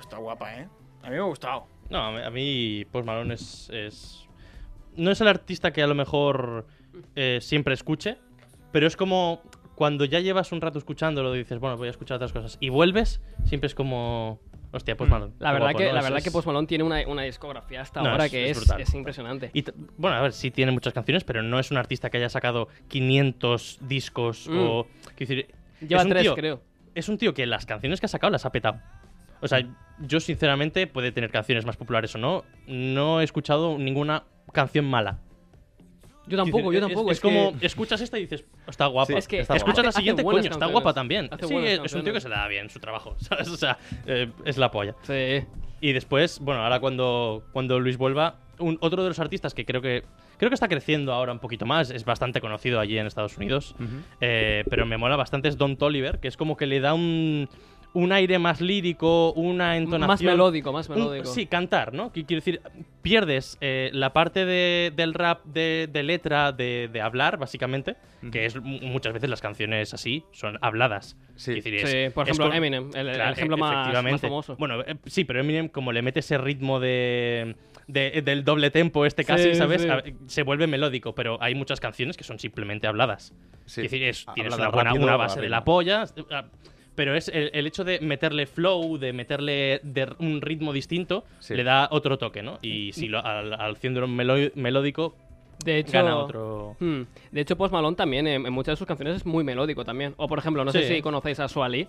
Speaker 2: Está guapa, ¿eh? A mí me ha gustado.
Speaker 4: No, a mí- a mí Post Malone es, es- No es el artista que a lo mejor eh, siempre escuche, pero es como cuando ya llevas un rato escuchándolo y dices, bueno, voy a escuchar otras cosas, y vuelves, siempre es como... Hostia, Post Malone.
Speaker 3: Mm. La
Speaker 4: qué
Speaker 3: verdad,
Speaker 4: guapo,
Speaker 3: que,
Speaker 4: ¿no?
Speaker 3: la
Speaker 4: Es-
Speaker 3: verdad
Speaker 4: es-
Speaker 3: que Post Malone tiene una, una discografía hasta
Speaker 4: No,
Speaker 3: ahora
Speaker 4: es-
Speaker 3: que
Speaker 4: es
Speaker 3: es,
Speaker 4: brutal.
Speaker 3: es impresionante.
Speaker 4: Y t- bueno, a ver, sí tiene muchas canciones, pero no es un artista que haya sacado 500 discos
Speaker 3: Mm.
Speaker 4: o... Quiero decir,
Speaker 3: Lleva
Speaker 4: es un
Speaker 3: tres,
Speaker 4: tío-
Speaker 3: creo.
Speaker 4: es un tío que las canciones que ha sacado las ha petado. O sea, yo sinceramente, puede tener canciones más populares o no, no he escuchado ninguna canción mala.
Speaker 3: Yo tampoco, yo
Speaker 4: Quiero decir,
Speaker 3: tampoco. es
Speaker 4: Es, es como,
Speaker 3: que-
Speaker 4: escuchas esta y dices, está guapa.
Speaker 5: Sí,
Speaker 3: es que
Speaker 5: está
Speaker 4: escuchas
Speaker 5: guapa.
Speaker 4: la
Speaker 3: Hace
Speaker 4: siguiente,
Speaker 3: buenas
Speaker 4: coño, está
Speaker 3: canciones.
Speaker 4: guapa también.
Speaker 3: Hace
Speaker 4: sí,
Speaker 3: buenas
Speaker 4: es, es un tío que
Speaker 3: canciones.
Speaker 4: se le da bien su trabajo, <laughs> ¿sabes? O sea, eh, es la polla.
Speaker 3: Sí.
Speaker 4: Y después, bueno, ahora cuando, cuando Luis vuelva, un, otro de los artistas que creo que creo que está creciendo ahora un poquito más, es bastante conocido allí en Estados Unidos, eh, pero me mola bastante es Don Toliver, que es como que le da un, un aire más lírico, una entonación...
Speaker 3: Más melódico, más
Speaker 4: un-
Speaker 3: melódico.
Speaker 4: sí, cantar, ¿no? Qui- Quiero decir, pierdes eh, la parte de- del rap de, de letra, de, de hablar, básicamente, que es mu- muchas veces las canciones así son habladas.
Speaker 5: Sí.
Speaker 4: Quiero decir, es-
Speaker 3: Sí, por
Speaker 4: es
Speaker 3: ejemplo,
Speaker 4: con-
Speaker 3: Eminem, el, el
Speaker 4: Claro,
Speaker 3: ejemplo
Speaker 4: e-
Speaker 3: más, más
Speaker 4: efectivamente.
Speaker 3: famoso.
Speaker 4: Bueno, eh, sí, pero Eminem, como le mete ese ritmo de, de- del doble tempo, este casi,
Speaker 3: Sí,
Speaker 4: ¿sabes?
Speaker 3: sí.
Speaker 4: A- Se vuelve melódico, pero hay muchas canciones que son simplemente habladas.
Speaker 5: Sí. Ah,
Speaker 4: Es decir, es-
Speaker 5: Habla
Speaker 4: tienes
Speaker 5: de
Speaker 4: una, buena,
Speaker 5: rápido
Speaker 4: una
Speaker 5: o
Speaker 4: base de
Speaker 5: arriba.
Speaker 4: la polla. eh, ah, Pero es el, el hecho de meterle flow, de meterle de r- un ritmo distinto,
Speaker 5: Sí.
Speaker 4: le da otro toque, ¿no? Y si lo, al, al haciéndolo melo- melódico,
Speaker 3: de hecho,
Speaker 4: gana otro.
Speaker 3: Hmm. De hecho, Post Malone también, en, en muchas de sus canciones es muy melódico también. O, por ejemplo, no sé
Speaker 4: Sí.
Speaker 3: si conocéis a Suali.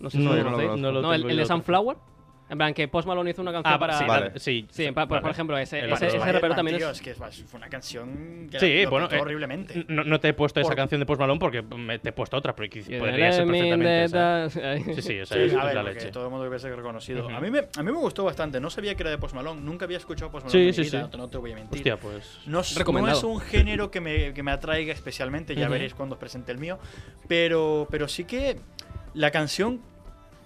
Speaker 3: No sé si
Speaker 4: No,
Speaker 3: lo
Speaker 5: yo no lo
Speaker 3: conocéis.
Speaker 5: conozco.
Speaker 4: No lo
Speaker 3: el,
Speaker 4: tengo
Speaker 3: el de
Speaker 4: yo tampoco.
Speaker 3: Sunflower. En plan, que Post Malone hizo una canción
Speaker 4: Ah,
Speaker 3: para...
Speaker 4: sí,
Speaker 5: Vale.
Speaker 4: sí,
Speaker 3: Sí, pa- por- por ejemplo, ese-
Speaker 4: El
Speaker 3: ese-
Speaker 4: Barcelona.
Speaker 3: ese
Speaker 2: Vale,
Speaker 3: rapero
Speaker 2: vale,
Speaker 3: también
Speaker 2: tío,
Speaker 3: es-
Speaker 2: que fue una canción que
Speaker 4: Sí,
Speaker 2: la- lo
Speaker 4: bueno,
Speaker 2: petó
Speaker 4: eh,
Speaker 2: horriblemente.
Speaker 4: No, no te he puesto esa
Speaker 2: Por-
Speaker 4: canción de Post Malone porque me- te he puesto otra, pero que
Speaker 3: Y
Speaker 4: podría ser
Speaker 3: de-
Speaker 4: perfectamente
Speaker 3: <laughs>
Speaker 4: esa.
Speaker 3: de-
Speaker 4: Sí, sí, o sea,
Speaker 2: Sí,
Speaker 4: es,
Speaker 2: a
Speaker 4: es
Speaker 2: ver,
Speaker 4: la
Speaker 2: porque
Speaker 4: leche.
Speaker 2: todo el mundo debe ser reconocido.
Speaker 4: Ujú.
Speaker 2: a, mí me, a mí me gustó bastante. No sabía que era de Post Malone. Nunca había escuchado Post
Speaker 4: Sí,
Speaker 2: Malone. en
Speaker 4: sí,
Speaker 2: mi vida,
Speaker 4: sí.
Speaker 2: no te- No te voy a mentir.
Speaker 4: Hostia, pues.
Speaker 2: No, es- no
Speaker 3: Recomendado.
Speaker 2: es un género que me, que me atraiga especialmente, ya
Speaker 4: Ujú.
Speaker 2: veréis cuando os presente el mío, pero, pero sí que la canción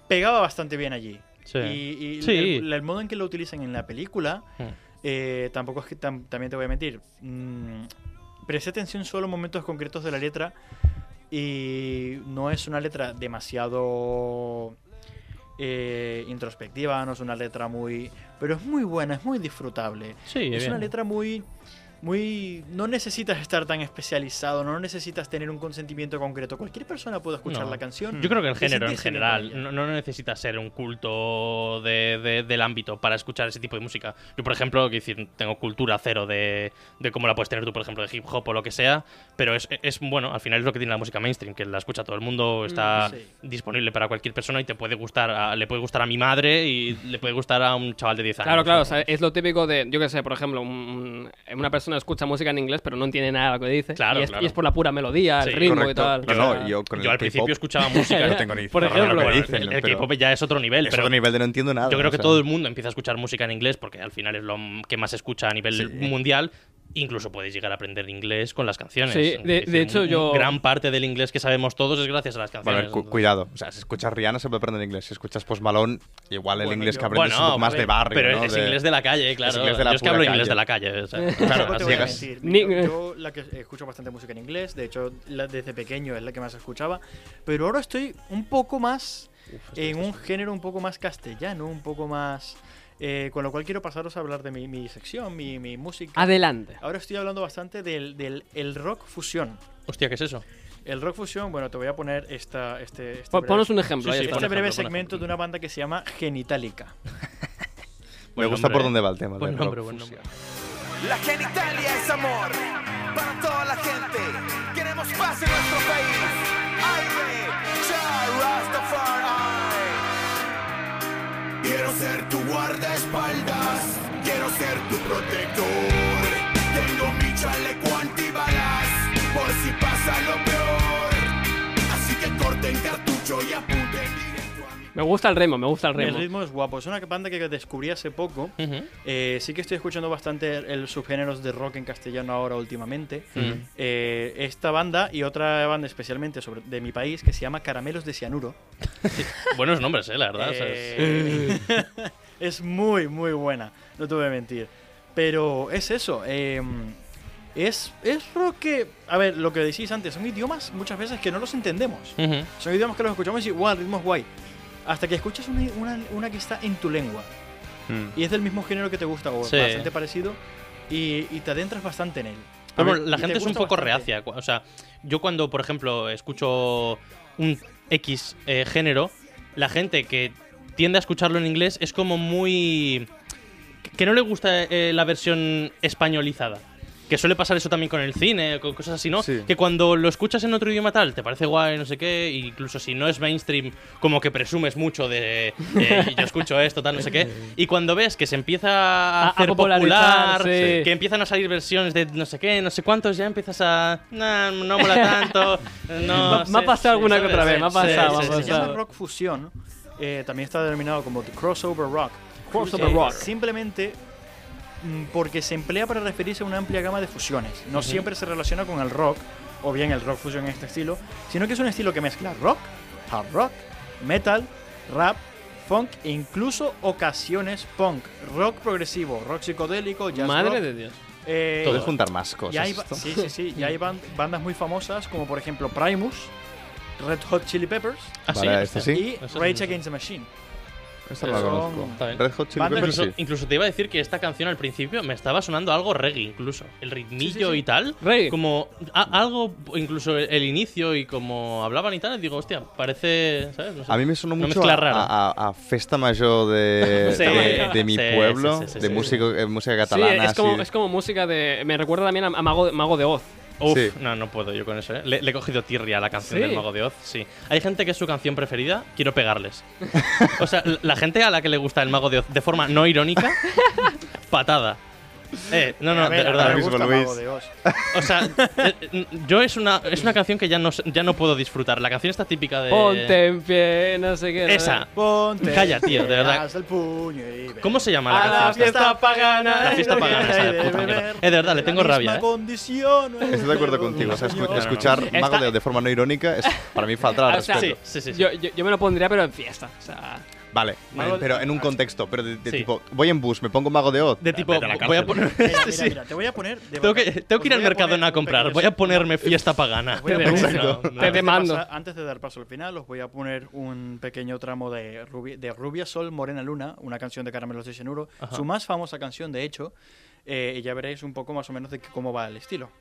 Speaker 2: pegaba bastante bien allí.
Speaker 4: Sí.
Speaker 2: Y, y
Speaker 4: Sí.
Speaker 2: El, el modo en que lo utilizan en la película,
Speaker 4: Mm.
Speaker 2: eh, tampoco es que tam- también te voy a mentir. Mm, presté atención solo en momentos concretos de la letra y no es una letra demasiado eh, introspectiva, no es una letra muy... Pero es muy buena, es muy disfrutable.
Speaker 4: Sí,
Speaker 2: Es
Speaker 4: bien.
Speaker 2: una letra muy, muy... No necesitas estar tan especializado, no necesitas tener un consentimiento concreto. Cualquier persona puede escuchar
Speaker 4: No.
Speaker 2: la canción.
Speaker 4: Yo creo que el
Speaker 2: y
Speaker 4: género en
Speaker 2: sentirse bien con
Speaker 4: general
Speaker 2: ella.
Speaker 4: no, no necesitas ser un culto de- de- del ámbito para escuchar ese tipo de música. Yo, por ejemplo, quiero decir, tengo cultura cero de, de cómo la puedes tener tú, por ejemplo, de hip hop o lo que sea, pero es, es bueno, al final es lo que tiene la música mainstream, que la escucha todo el mundo, está
Speaker 2: Mm, sí.
Speaker 4: disponible para cualquier persona y te puede gustar, a- le puede gustar a mi madre y le puede gustar a un chaval de 10 años.
Speaker 3: Claro, claro,
Speaker 4: ¿no?
Speaker 3: o sea, es lo típico de, yo qué sé, por ejemplo, un- una persona escucha música en inglés pero no entiende nada de lo que dice.
Speaker 4: Claro,
Speaker 3: y, es,
Speaker 4: claro.
Speaker 3: y es por la pura melodía, el
Speaker 4: Sí,
Speaker 3: ritmo y
Speaker 5: Correcto.
Speaker 3: tal.
Speaker 5: Yo
Speaker 3: O sea,
Speaker 5: no, yo con
Speaker 4: Yo
Speaker 5: el
Speaker 4: al principio
Speaker 5: K-pop
Speaker 4: escuchaba música.
Speaker 5: no tengo ni
Speaker 4: Por
Speaker 5: idea de lo
Speaker 4: ejemplo,
Speaker 5: que
Speaker 4: bueno,
Speaker 5: dicen,
Speaker 4: el, el
Speaker 5: pero
Speaker 4: K-pop ya es otro nivel,
Speaker 5: es
Speaker 4: pero
Speaker 5: otro nivel de no entiendo nada.
Speaker 4: yo creo
Speaker 5: o
Speaker 4: que
Speaker 5: sea.
Speaker 4: todo el mundo empieza a escuchar música en inglés porque al final es lo m- que más se escucha a nivel
Speaker 5: Sí.
Speaker 4: mundial. Incluso podéis llegar a aprender inglés con las canciones.
Speaker 3: Sí, de-
Speaker 4: Es
Speaker 3: de
Speaker 4: decir,
Speaker 3: hecho,
Speaker 4: un-
Speaker 3: yo-
Speaker 4: Gran parte del inglés que sabemos todos es gracias a las
Speaker 5: Bueno,
Speaker 4: canciones.
Speaker 5: a ver, cu- cuidado. O sea, si escuchas Rihanna se puede aprender inglés. Si escuchas Post Malone, igual el inglés que aprendes es un poco más
Speaker 4: vale,
Speaker 5: de barrio.
Speaker 4: Pero
Speaker 5: ¿no?
Speaker 4: es, inglés de la calle, claro.
Speaker 5: inglés de la
Speaker 4: yo es que
Speaker 5: pura
Speaker 4: hablo inglés
Speaker 5: calle.
Speaker 4: de la calle. <laughs> o sea,
Speaker 5: Claro,
Speaker 2: Tampoco te
Speaker 4: así
Speaker 2: voy a
Speaker 4: llegas-
Speaker 2: mentir,
Speaker 3: Ni-
Speaker 2: Yo, yo la que escucho bastante música en inglés, de hecho la- desde pequeño es la que más escuchaba, pero ahora estoy un poco más en un género un poco más castellano, un poco más... eh, con lo cual quiero pasaros a hablar de mi, mi sección, mi, mi música.
Speaker 3: Adelante.
Speaker 2: Ahora estoy hablando bastante del, del el rock fusión.
Speaker 4: Hostia, ¿qué es eso?
Speaker 2: El rock fusión, bueno, te voy a poner esta, este, este
Speaker 3: Pon-
Speaker 2: breve-
Speaker 3: Ponos un ejemplo.
Speaker 4: Sí,
Speaker 3: ahí
Speaker 4: sí,
Speaker 3: está.
Speaker 4: pon
Speaker 2: este breve
Speaker 4: ejemplo, pon
Speaker 2: segmento
Speaker 4: ejemplo.
Speaker 2: de una banda que se llama Genitalica.
Speaker 5: Me
Speaker 4: Buen
Speaker 5: gusta por
Speaker 4: nombre,
Speaker 5: dónde va el tema.
Speaker 4: Buen
Speaker 5: del
Speaker 4: nombre,
Speaker 5: rock
Speaker 4: buen
Speaker 5: fusion.
Speaker 4: nombre.
Speaker 1: La genitalia es amor para toda la gente. Queremos paz en nuestro país. Aire, Chai, Rastafari. Quiero
Speaker 6: ser tu guardaespaldas, quiero ser tu protector. Tengo mi chaleco antibalas, por si pasa lo peor. Así que corten cartucho y apunten directo a mi
Speaker 3: Me gusta el ritmo, me gusta el
Speaker 2: El
Speaker 3: ritmo.
Speaker 2: ritmo es guapo. Es una banda que descubrí hace poco.
Speaker 4: Ujú.
Speaker 2: Eh, sí que estoy escuchando bastante el, el subgéneros de rock en castellano ahora últimamente. Eh, esta banda y otra banda especialmente sobre, de mi país que se llama Caramelos de Cianuro.
Speaker 4: Buenos nombres, eh, la verdad. o sea, es-
Speaker 2: Eh, <laughs> es muy, muy buena, no te voy a mentir. Pero es eso. eh, es, es rock que... A ver, lo que decís antes, son idiomas muchas veces que no los entendemos.
Speaker 4: Ujú.
Speaker 2: Son idiomas que los escuchamos y wow, el ritmo es guay. Hasta que escuchas una, una- una que está en tu lengua. Y es del mismo género que te gusta, o
Speaker 4: Hmm. Sí.
Speaker 2: bastante parecido. Y, y te adentras bastante en él.
Speaker 4: Pero
Speaker 2: Y
Speaker 4: la
Speaker 2: te
Speaker 4: gente es un
Speaker 2: gusta
Speaker 4: poco
Speaker 2: bastante.
Speaker 4: reacia. cu- O sea, yo cuando, por ejemplo, escucho un X eh, género, la gente que tiende a escucharlo en inglés es como muy... que no le gusta eh, la versión españolizada. Que suele pasar eso también con el cine, con cosas así, ¿no?
Speaker 5: Sí.
Speaker 4: Que cuando lo escuchas en otro idioma tal, te parece guay, no sé qué, e incluso si no es mainstream, como que presumes mucho de, eh, yo escucho esto, tal, no sé qué. Y cuando ves que se empieza a,
Speaker 3: A- a
Speaker 4: hacer
Speaker 3: popularizar,
Speaker 4: popular,
Speaker 3: sí.
Speaker 4: que empiezan a salir versiones de no sé qué, no sé cuántos, ya empiezas a. "Nah, no
Speaker 3: <laughs>
Speaker 4: mola tanto.
Speaker 3: Me-
Speaker 4: no
Speaker 3: me
Speaker 4: sé".
Speaker 3: ha pasado alguna que
Speaker 4: ¿sabes?
Speaker 3: otra vez, me ha
Speaker 4: Sí,
Speaker 3: pasado,
Speaker 4: sí,
Speaker 3: me ha
Speaker 4: sí,
Speaker 2: Se
Speaker 4: sí.
Speaker 2: llama
Speaker 3: pasado.
Speaker 2: rock fusión. eh, también está denominado como the crossover rock.
Speaker 4: Crossover
Speaker 2: Eh,
Speaker 4: rock.
Speaker 2: Simplemente mm, porque se emplea para referirse a una amplia gama de fusiones. No siempre se relaciona con el rock, o bien el rock fusión en este estilo, sino que es un estilo que mezcla rock, hard rock, metal, rap, funk e incluso ocasiones punk, rock progresivo, rock psicodélico, jazz
Speaker 3: Madre
Speaker 2: rock,
Speaker 3: de Dios.
Speaker 2: eh,
Speaker 5: Puedes juntar más cosas.
Speaker 2: y hay, ba-
Speaker 5: esto.
Speaker 2: sí, sí, sí. Y hay ban- bandas muy famosas como por ejemplo Primus, Red Hot Chili Peppers
Speaker 4: Ah, sí,
Speaker 5: Vale,
Speaker 4: hostia.
Speaker 5: este sí.
Speaker 2: y
Speaker 4: Eso
Speaker 2: Rage
Speaker 4: sí.
Speaker 2: Against the Machine.
Speaker 5: Esta no la
Speaker 2: Son-
Speaker 5: conozco.
Speaker 2: Está
Speaker 4: bien.
Speaker 5: Red Hot Chili
Speaker 2: Banda-
Speaker 5: Peppers
Speaker 4: Incluso,
Speaker 5: sí.
Speaker 4: incluso te iba a decir que esta canción al principio me estaba sonando algo reggae, incluso. El ritmillo
Speaker 2: Sí, sí, sí.
Speaker 4: y tal.
Speaker 3: Reggae.
Speaker 4: Como a- algo, incluso el, el inicio y como hablaban y tal, digo, hostia, parece. ¿sabes? No sé.
Speaker 5: A mí me sonó
Speaker 4: Una
Speaker 5: mucho a,
Speaker 4: mezcla rara.
Speaker 5: a- a Festa Mayor
Speaker 4: <laughs>
Speaker 5: de,
Speaker 4: Sí.
Speaker 5: de, de mi
Speaker 4: Sí, sí,
Speaker 5: pueblo,
Speaker 4: sí, sí,
Speaker 5: de
Speaker 4: sí.
Speaker 5: músico- eh, música
Speaker 3: Sí,
Speaker 5: catalana.
Speaker 3: es como,
Speaker 5: así.
Speaker 3: es como música de. Me recuerda también a, a Mago, Mago de Oz.
Speaker 4: Uf,
Speaker 5: Sí.
Speaker 4: no, no puedo yo con eso, ¿eh? Le, le he cogido tirria a la canción
Speaker 3: Sí.
Speaker 4: del Mago de Oz, sí. Hay gente que es su canción preferida, quiero
Speaker 5: <laughs>
Speaker 4: pegarles. o sea, la- la gente a la que le gusta el Mago de Oz de forma
Speaker 2: <laughs>
Speaker 4: no irónica, patada. Eh, no, no,
Speaker 2: A ver,
Speaker 4: de
Speaker 2: a mí
Speaker 4: verdad.
Speaker 2: me gusta
Speaker 5: Luis.
Speaker 2: Mago de Oz.
Speaker 4: <laughs> O sea, eh, eh, yo es una, es una canción que ya no, sé- ya no puedo disfrutar. La canción está típica de...
Speaker 3: Ponte en pie, no sé qué. no sé.
Speaker 4: Eh, Esa.
Speaker 2: Ponte.
Speaker 4: Calla, tío, de verdad.
Speaker 2: haz el puño y ve.
Speaker 4: ¿Cómo se llama la
Speaker 3: A
Speaker 4: canción?
Speaker 3: la
Speaker 4: esta?
Speaker 3: fiesta pagana.
Speaker 4: La fiesta
Speaker 3: Ay,
Speaker 4: pagana,
Speaker 3: no
Speaker 4: esa de
Speaker 3: quiero
Speaker 4: puta
Speaker 3: ir de
Speaker 4: mierda.
Speaker 3: beber.
Speaker 4: Eh, de verdad, le tengo
Speaker 2: La
Speaker 4: rabia,
Speaker 2: misma
Speaker 4: ¿eh?
Speaker 2: condición.
Speaker 5: Estoy de acuerdo contigo. o sea, escu-
Speaker 4: No, no, no. Ah,
Speaker 5: escuchar
Speaker 3: Esta-
Speaker 5: Mago de Oz de forma no irónica es para mí faltar al
Speaker 3: O sea,
Speaker 5: respeto.
Speaker 4: Sí, sí, sí. sí.
Speaker 3: Yo, yo- yo me lo pondría, pero en fiesta. O sea,
Speaker 5: Vale,
Speaker 2: Mago de-
Speaker 5: pero en un contexto. Pero de, de
Speaker 4: Sí.
Speaker 5: tipo, voy en bus, me pongo Mago de Oz.
Speaker 4: de tipo,
Speaker 7: Vete a la
Speaker 4: voy a
Speaker 7: cárcel.
Speaker 4: poner...
Speaker 2: Mira,
Speaker 4: <laughs> sí,
Speaker 2: mira,
Speaker 4: sí.
Speaker 2: mira, te voy a poner. de
Speaker 4: Tengo
Speaker 2: verdad,
Speaker 4: que, tengo
Speaker 2: os
Speaker 4: que ir al
Speaker 2: voy a poner
Speaker 4: Mercadona a
Speaker 2: un
Speaker 4: comprar.
Speaker 2: pequeño
Speaker 4: Voy a
Speaker 2: sitcom.
Speaker 4: ponerme fiesta pagana.
Speaker 2: Os voy a
Speaker 3: Te
Speaker 2: poner-
Speaker 3: demando.
Speaker 4: No, no.
Speaker 3: Te
Speaker 2: Antes de
Speaker 3: demando.
Speaker 2: pasar- antes de dar paso al final, os voy a poner un pequeño tramo de Rubi- de Rubia Sol Morena Luna, una canción de Caramelos de Cianuro, su más famosa canción, de hecho, eh, y ya veréis un poco más o menos de que- cómo va el estilo.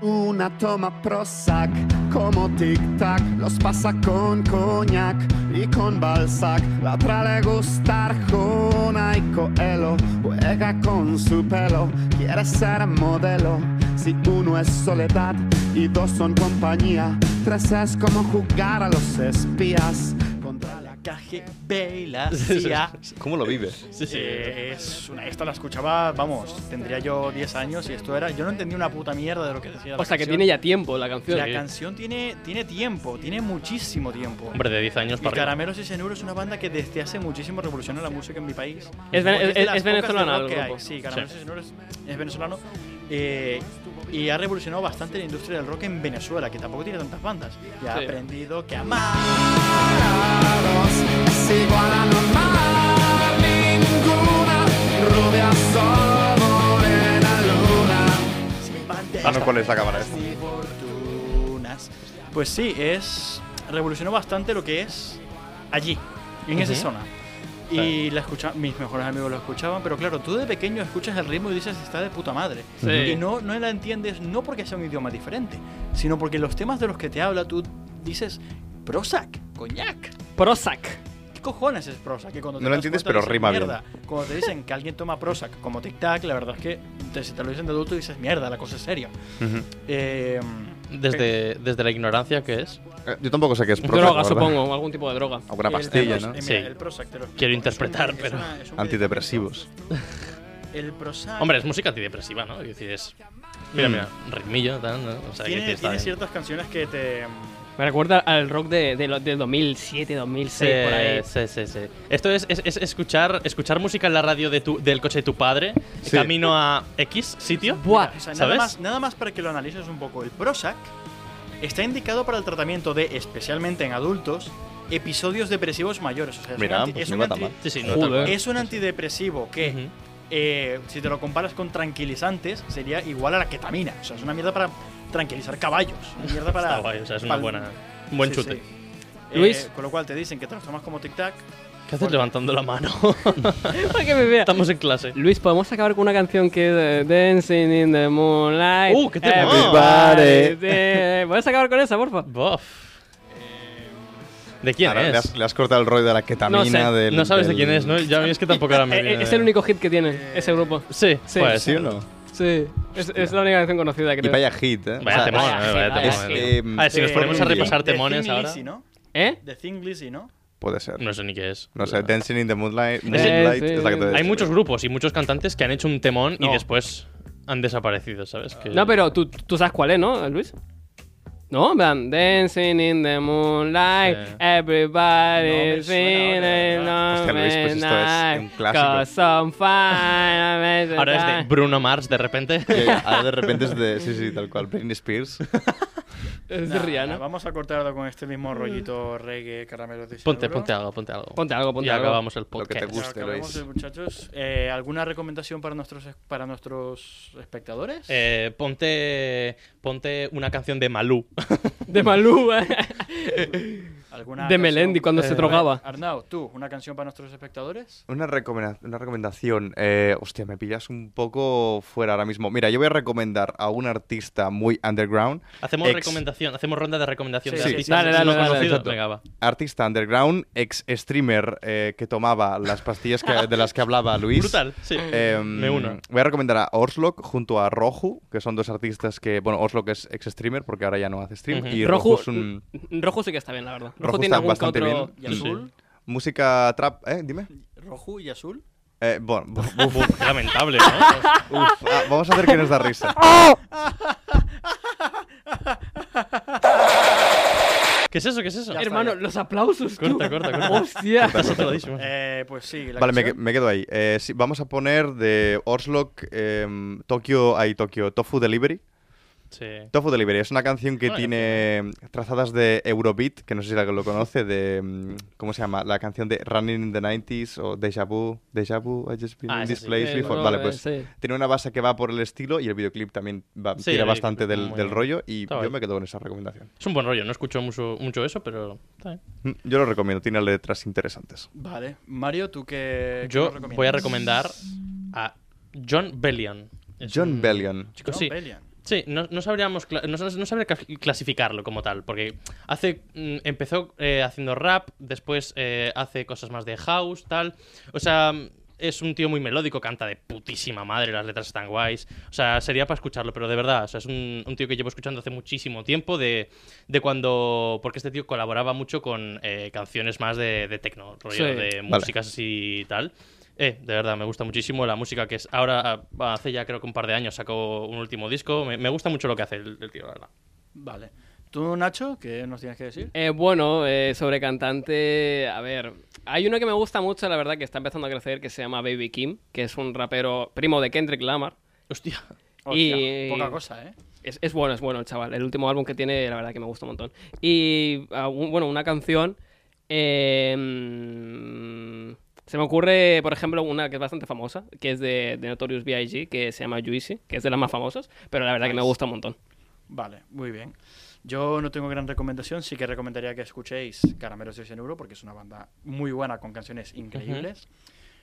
Speaker 6: Una toma Prozac como Tic Tac, los pasa con coñac y con Balzac. La otra le gusta Arjona y Coelho, juega con su pelo, quiere ser modelo. Si uno es soledad y dos son compañía, tres es como jugar a los espías contra la
Speaker 4: <laughs>
Speaker 2: KGB y la CIA.
Speaker 5: ¿Cómo lo vive?
Speaker 3: <laughs>
Speaker 4: Sí, sí.
Speaker 2: Eh, es una- esta la escuchaba, vamos, tendría yo 10 años y esto era. Yo no entendía una puta mierda de lo que decía. la
Speaker 3: o sea, que
Speaker 2: canción.
Speaker 3: tiene ya tiempo la canción.
Speaker 2: La canción tiene, tiene tiempo, tiene muchísimo tiempo.
Speaker 4: Hombre, de 10 años
Speaker 2: Y
Speaker 4: para arriba.
Speaker 2: Caramelos y Cianuro es una banda que desde hace muchísimo revoluciona la música en mi país. Porque
Speaker 3: Es vene-
Speaker 2: de
Speaker 3: es-
Speaker 2: las
Speaker 3: es
Speaker 2: pocas de
Speaker 3: venezolana
Speaker 2: rock
Speaker 3: el
Speaker 2: que hay.
Speaker 3: grupo.
Speaker 2: Sí, Caramelos y Cianuro es, es venezolano. eh, y ha revolucionado bastante la industria del rock en Venezuela, que tampoco tiene tantas bandas. Y ha
Speaker 3: Sí.
Speaker 2: aprendido que amar.
Speaker 6: Es igual a normal, ninguna rubia sol, morena luna.
Speaker 2: sin banderas,
Speaker 5: Ah, no, ¿cuál es la cámara esta?
Speaker 2: ni fortunas. Pues sí, es. Revolucionó bastante lo que es allí, en esa zona. Y la escucha, mis mejores amigos lo escuchaban, pero claro, tú de pequeño escuchas el ritmo y dices está de puta madre.
Speaker 3: Sí.
Speaker 2: Y no, no la entiendes, no porque sea un idioma diferente, sino porque los temas de los que te habla tú dices Prozac, coñac.
Speaker 3: Prozac.
Speaker 2: ¿Qué cojones es Prozac? Que cuando te
Speaker 5: No lo
Speaker 2: das
Speaker 5: entiendes,
Speaker 2: cuenta
Speaker 5: pero
Speaker 2: dices,
Speaker 5: rima bien.
Speaker 2: mierda. Cuando te dicen que alguien toma Prozac como tic-tac, la verdad es que te- si te lo dicen de adulto dices mierda, la cosa es seria. Eh,
Speaker 4: desde, desde la ignorancia que es.
Speaker 5: Eh, Yo tampoco sé qué es Prozac,
Speaker 3: droga,
Speaker 5: ¿verdad?
Speaker 3: supongo, algún tipo de droga.
Speaker 5: Alguna
Speaker 2: El-
Speaker 5: pastilla,
Speaker 2: el-
Speaker 5: ¿no?
Speaker 2: eh, mira,
Speaker 4: Sí.
Speaker 2: el Prozac, te lo explico.
Speaker 4: Quiero
Speaker 2: Es un-
Speaker 4: interpretar,
Speaker 2: es
Speaker 4: pero-
Speaker 2: una- es un
Speaker 5: Antidepresivos.
Speaker 2: El Prozac
Speaker 4: Hombre, es música antidepresiva, ¿no? Es decir, es. Mira, mira, ritmillo, tal, ¿no? O sea, que
Speaker 2: tiene,
Speaker 4: está ¿eh?
Speaker 2: tiene
Speaker 4: bien.
Speaker 2: ciertas canciones que te...
Speaker 3: Me recuerda al rock de, de lo- del 2007, 2006, por ahí.
Speaker 4: Eh, Sí, sí, sí. Esto es, es- es escuchar, escuchar música en la radio de tu- del coche de tu padre,
Speaker 5: Sí.
Speaker 4: camino a X sitio.
Speaker 3: Buah, <laughs>
Speaker 2: O sea, nada
Speaker 4: ¿Sabes?
Speaker 2: más, nada más para que lo analices un poco. El Prozac está indicado para el tratamiento de, especialmente en adultos, episodios depresivos mayores. O sea, es un
Speaker 5: Mira,
Speaker 2: anti-
Speaker 5: pues
Speaker 2: es
Speaker 5: no
Speaker 2: un
Speaker 5: va tan
Speaker 2: anti-
Speaker 5: mal.
Speaker 4: Sí, sí, no
Speaker 3: Joder.
Speaker 4: tal cual.
Speaker 2: es un antidepresivo que
Speaker 4: Ujú.
Speaker 2: eh, si te lo comparas con tranquilizantes, sería igual a la ketamina. O sea, es una mierda para tranquilizar caballos. Una mierda para.
Speaker 4: <laughs> Está guay, o sea, es una
Speaker 2: pal-
Speaker 4: buena, un buen
Speaker 2: Sí,
Speaker 4: chute.
Speaker 2: sí.
Speaker 3: Luis.
Speaker 2: Eh, con lo cual te dicen que te los tomas como tic-tac.
Speaker 4: ¿Qué haces
Speaker 2: Bueno.
Speaker 4: levantando la mano?
Speaker 3: Para que me vea.
Speaker 4: <laughs> Estamos en clase.
Speaker 3: Luis, ¿podemos acabar con una canción que es eh, Dancing in the Moonlight?
Speaker 4: Uh, qué tema.
Speaker 3: Everybody
Speaker 5: Everybody.
Speaker 3: de- ¿Puedes acabar con esa, porfa?
Speaker 4: Buff. ¿De quién
Speaker 5: Ahora, le,
Speaker 4: es?
Speaker 5: has, le has cortado el rollo de la ketamina.
Speaker 4: no, sé,
Speaker 5: del-
Speaker 4: no sabes de
Speaker 5: del-
Speaker 4: quién es, ¿no? Ya a mí es que tampoco ahora
Speaker 3: <laughs>
Speaker 4: me
Speaker 3: Eh, eh,
Speaker 4: viene.
Speaker 3: es el único hit que tiene ese grupo.
Speaker 4: Sí,
Speaker 3: Sí.
Speaker 4: pues.
Speaker 5: ¿Sí o no?
Speaker 3: Sí. Es, es la única canción conocida,
Speaker 5: Y
Speaker 3: creo.
Speaker 5: vaya hit, ¿eh?
Speaker 4: Vaya
Speaker 5: O sea,
Speaker 4: temón,
Speaker 3: vaya
Speaker 4: eh, vaya
Speaker 3: hit,
Speaker 4: temón.
Speaker 3: vaya
Speaker 4: eh.
Speaker 5: hit.
Speaker 4: A ver, si nos
Speaker 2: Eh,
Speaker 4: ponemos a
Speaker 2: The
Speaker 4: repasar
Speaker 2: Thin- The
Speaker 4: temones
Speaker 2: Thin
Speaker 4: ahora.
Speaker 2: Lizzy, ¿no?
Speaker 3: ¿Eh?
Speaker 2: The Thing Lizzy, ¿no?
Speaker 5: Puede ser.
Speaker 4: No sé ni qué es.
Speaker 5: No sé, Dancing in the Moonlight,
Speaker 3: sí,
Speaker 5: moonlight es la que te
Speaker 3: sí.
Speaker 4: Hay
Speaker 5: decía.
Speaker 4: muchos grupos y muchos cantantes que han hecho un temón y
Speaker 3: No.
Speaker 4: después han desaparecido, ¿sabes? Que-
Speaker 3: No, pero tú, tú sabes cuál es, ¿no, Luis? No, en plan, Dancing in the moonlight,
Speaker 4: Sí.
Speaker 3: everybody
Speaker 2: No me suena ahora,
Speaker 5: de verdad. Hostia, Luis, pues esto es un clásico.
Speaker 4: Ahora es de Bruno Mars de
Speaker 5: <laughs>
Speaker 4: repente.
Speaker 5: Ya, ya,
Speaker 4: <laughs>
Speaker 5: Ahora de repente es de. Sí, sí, tal cual. Britney Spears. <laughs>
Speaker 3: de... Es de
Speaker 2: Nah,
Speaker 3: Rihanna. Mm.
Speaker 2: Vamos a cortarlo con este mismo rollito reggae, caramelo de
Speaker 4: Ponte,
Speaker 2: cianuro.
Speaker 4: ponte algo, ponte algo.
Speaker 3: Ponte algo, ponte
Speaker 4: y
Speaker 3: algo.
Speaker 4: acabamos el
Speaker 5: Lo que
Speaker 4: podcast.
Speaker 5: te
Speaker 2: Ya
Speaker 5: guste,
Speaker 2: acabamos,
Speaker 5: Luis.
Speaker 2: eh, muchachos. Eh, ¿Alguna recomendación para nuestros para nuestros espectadores?
Speaker 4: Eh, ponte, ponte una canción de Malú.
Speaker 3: De Malú, ¿eh?
Speaker 2: ¿Alguna
Speaker 3: de
Speaker 2: canción?
Speaker 3: Melendi cuando se
Speaker 4: Eh,
Speaker 3: drogaba.
Speaker 2: Arnau, tú, ¿una canción para nuestros espectadores?
Speaker 5: Una, recomenda- una recomendación. Eh, hostia, me pillas un poco fuera ahora mismo. Mira, yo voy a recomendar a un artista muy underground.
Speaker 4: Hacemos
Speaker 5: Ex-
Speaker 4: recomendación, hacemos ronda de recomendación
Speaker 2: Sí,
Speaker 4: de
Speaker 2: sí,
Speaker 4: artistas
Speaker 3: sí, dale,
Speaker 4: no
Speaker 3: dale, dale.
Speaker 4: conocidos.
Speaker 3: Exacto.
Speaker 4: Venga, va.
Speaker 5: Artista underground, ex streamer eh, que tomaba las pastillas que- de las que hablaba Luis.
Speaker 4: Brutal, sí.
Speaker 5: Eh,
Speaker 4: Me uno.
Speaker 5: Voy a recomendar a Orslock junto a Roju, que son dos artistas que. Bueno, Orslock es ex streamer porque ahora ya no hace stream.
Speaker 4: Ujú.
Speaker 5: <laughs> Y Roju,
Speaker 3: Rojo, mm,
Speaker 5: es un.
Speaker 3: Rojo sí que está bien, la verdad. Rojo,
Speaker 5: Rojo
Speaker 3: tiene
Speaker 5: está
Speaker 3: algún que
Speaker 5: bastante
Speaker 3: otro...
Speaker 2: ¿Y
Speaker 5: bien.
Speaker 4: Sí.
Speaker 2: azul?
Speaker 5: Música trap. ¿Eh? Dime.
Speaker 2: ¿Rojo y azul?
Speaker 5: Eh, bueno, bu-
Speaker 4: <laughs>
Speaker 5: bu-
Speaker 4: Uf, uf, qué lamentable,
Speaker 2: <laughs>
Speaker 4: ¿no?
Speaker 5: uf, ah, vamos a hacer que nos
Speaker 4: <laughs>
Speaker 5: da risa.
Speaker 4: Ah, ¿Qué es eso? ¿Qué es eso?
Speaker 3: Hermano, los aplausos, <laughs> tú.
Speaker 4: Corta, corta, corta.
Speaker 3: Hostia.
Speaker 4: Está saturadísimo.
Speaker 2: Eh, pues sí. la
Speaker 5: Vale, me,
Speaker 2: canción.
Speaker 5: que- me quedo ahí. Eh, sí, vamos a poner de Orslock em, Tokio, ahí Tokio, Tofu Delivery.
Speaker 4: Sí.
Speaker 5: Tofu Delivery es una canción que
Speaker 4: Una
Speaker 5: tiene em, trazadas de Eurobeat, que no sé si alguien lo conoce, de. em, ¿Cómo se llama? La canción de Running in the 90s o Deja Vu. Deja Vu, I just been
Speaker 4: Ah,
Speaker 5: in
Speaker 4: esa
Speaker 5: this
Speaker 4: sí.
Speaker 5: place
Speaker 3: Eh,
Speaker 5: before.
Speaker 3: no,
Speaker 5: vale,
Speaker 3: eh,
Speaker 5: pues.
Speaker 3: sí.
Speaker 5: Tiene una base que va por el estilo y el videoclip también va,
Speaker 4: Sí,
Speaker 5: tira
Speaker 4: el
Speaker 5: bastante
Speaker 4: videoclip
Speaker 5: del,
Speaker 4: muy
Speaker 5: del
Speaker 4: bien.
Speaker 5: rollo y
Speaker 4: Está
Speaker 5: yo
Speaker 4: guay.
Speaker 5: me quedo con esa recomendación.
Speaker 4: Es un buen rollo, no escucho mucho, mucho eso, pero. está bien.
Speaker 5: Mm, Yo lo recomiendo, tiene letras interesantes.
Speaker 2: Vale. Mario, ¿tú Eh, qué, qué
Speaker 4: Yo
Speaker 2: nos recomiendas?
Speaker 4: voy a recomendar a John Bellion. Es
Speaker 5: John
Speaker 4: un-
Speaker 5: Bellion.
Speaker 4: Chico,
Speaker 2: John
Speaker 4: sí.
Speaker 2: Bellion.
Speaker 4: Sí, no, no sabríamos cla- no, no sabría cla- clasificarlo como tal, porque hace mm, empezó eh, haciendo rap, después eh, hace cosas más de house, tal. O sea, mm, es un tío muy melódico, canta de putísima madre, las letras están guays. O sea, sería para escucharlo, pero de verdad, o sea, es un, un tío que llevo escuchando hace muchísimo tiempo, de, de cuando... Porque este tío colaboraba mucho con eh, canciones más de, de techno, rollo
Speaker 3: Sí.
Speaker 4: de eh, músicas así y tal. Eh, de verdad, me gusta muchísimo la música que es. Ahora, ah, hace ya creo que un par de años sacó un último disco. Me, me gusta mucho lo que hace el, el tío, la verdad.
Speaker 2: Vale. ¿Tú, Nacho, qué nos tienes que decir?
Speaker 3: Eh, bueno, eh, sobre cantante, a ver, hay uno que me gusta mucho, la verdad, que está empezando a crecer, que se llama Baby Kim, que es un rapero primo de Kendrick Lamar.
Speaker 4: Hostia.
Speaker 3: Y-
Speaker 2: poca cosa, ¿eh?
Speaker 3: Es, es bueno, es bueno el chaval. El último álbum que tiene, la verdad que me gusta un montón. Y, ah, un- bueno, una canción... eh, mm, se me ocurre, por ejemplo, una que es bastante famosa, que es de, de Notorious B.I.G., que se llama Juicy, que es de las más famosas, pero la verdad que me gusta un montón.
Speaker 2: Vale, muy bien. Yo no tengo gran recomendación, sí que recomendaría que escuchéis Caramelos de Cianuro porque es una banda muy buena con canciones increíbles.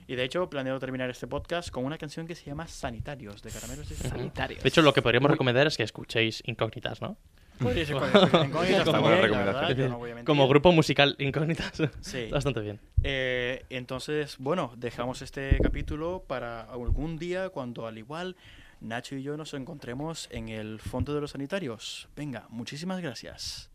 Speaker 2: Y de hecho, planeo terminar este podcast con una canción que se llama Sanitarios de Caramelos de Cianuro.
Speaker 3: Sanitarios.
Speaker 4: De hecho, lo que podríamos recomendar es que escuchéis Incógnitas, ¿no? <laughs>
Speaker 2: Podría ser cualquier incógnita
Speaker 4: Como
Speaker 2: también, la
Speaker 5: recomendación.
Speaker 2: verdad, yo no voy a mentir.
Speaker 4: Como grupo Ah, musical Incógnitas. <laughs>
Speaker 2: Sí.
Speaker 4: Bastante bien.
Speaker 2: Eh, entonces, bueno, dejamos este capítulo para algún día cuando al igual Nacho y yo nos encontremos en el fondo de los sanitarios. Venga, muchísimas gracias.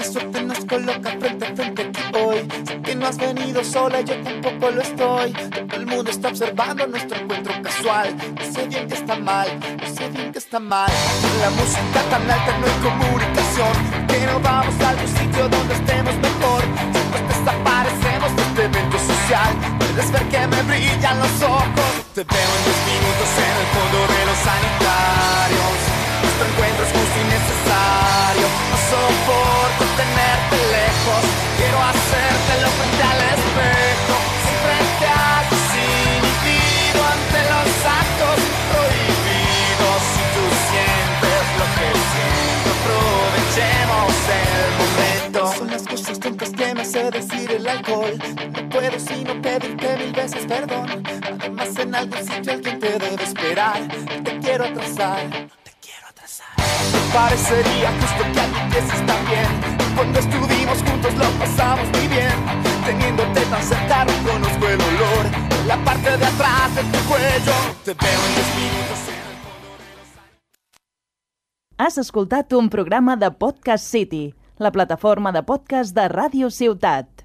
Speaker 7: La suerte nos coloca frente a frente aquí hoy. Sé que no has venido sola, yo tampoco lo estoy. Todo el mundo está observando nuestro encuentro casual. No sé bien que está mal, no sé bien que está mal. Con la música tan alta no hay comunicación. Que no vamos a algún sitio donde estemos mejor. Si nos desaparecemos de este evento social. Puedes ver que me brillan los ojos. Te veo en dos minutos en el fondo de los sanitarios. Nuestro encuentro es justo y necesario. No soporto tenerte lejos. Quiero hacértelo frente al espejo. Siempre te has desinhibido ante los actos prohibidos. Si tú sientes lo que siento, aprovechemos el momento. Son las cosas tontas que me hace decir el alcohol. No puedo sino pedirte mil veces perdón. Además, en algún sitio alguien te debe esperar. Te quiero atrasar. te quiero atrasar. Me parecería justo que alguien que sí está bien. Cuando estuvimos juntos lo pasamos muy bien. Teniéndote tan cerca, no conozco el olor. de La parte de atrás de tu cuello. Te veo en los minutos en el
Speaker 8: Has escoltat un programa de Podcast City, la plataforma de podcast de Ràdio Ciutat.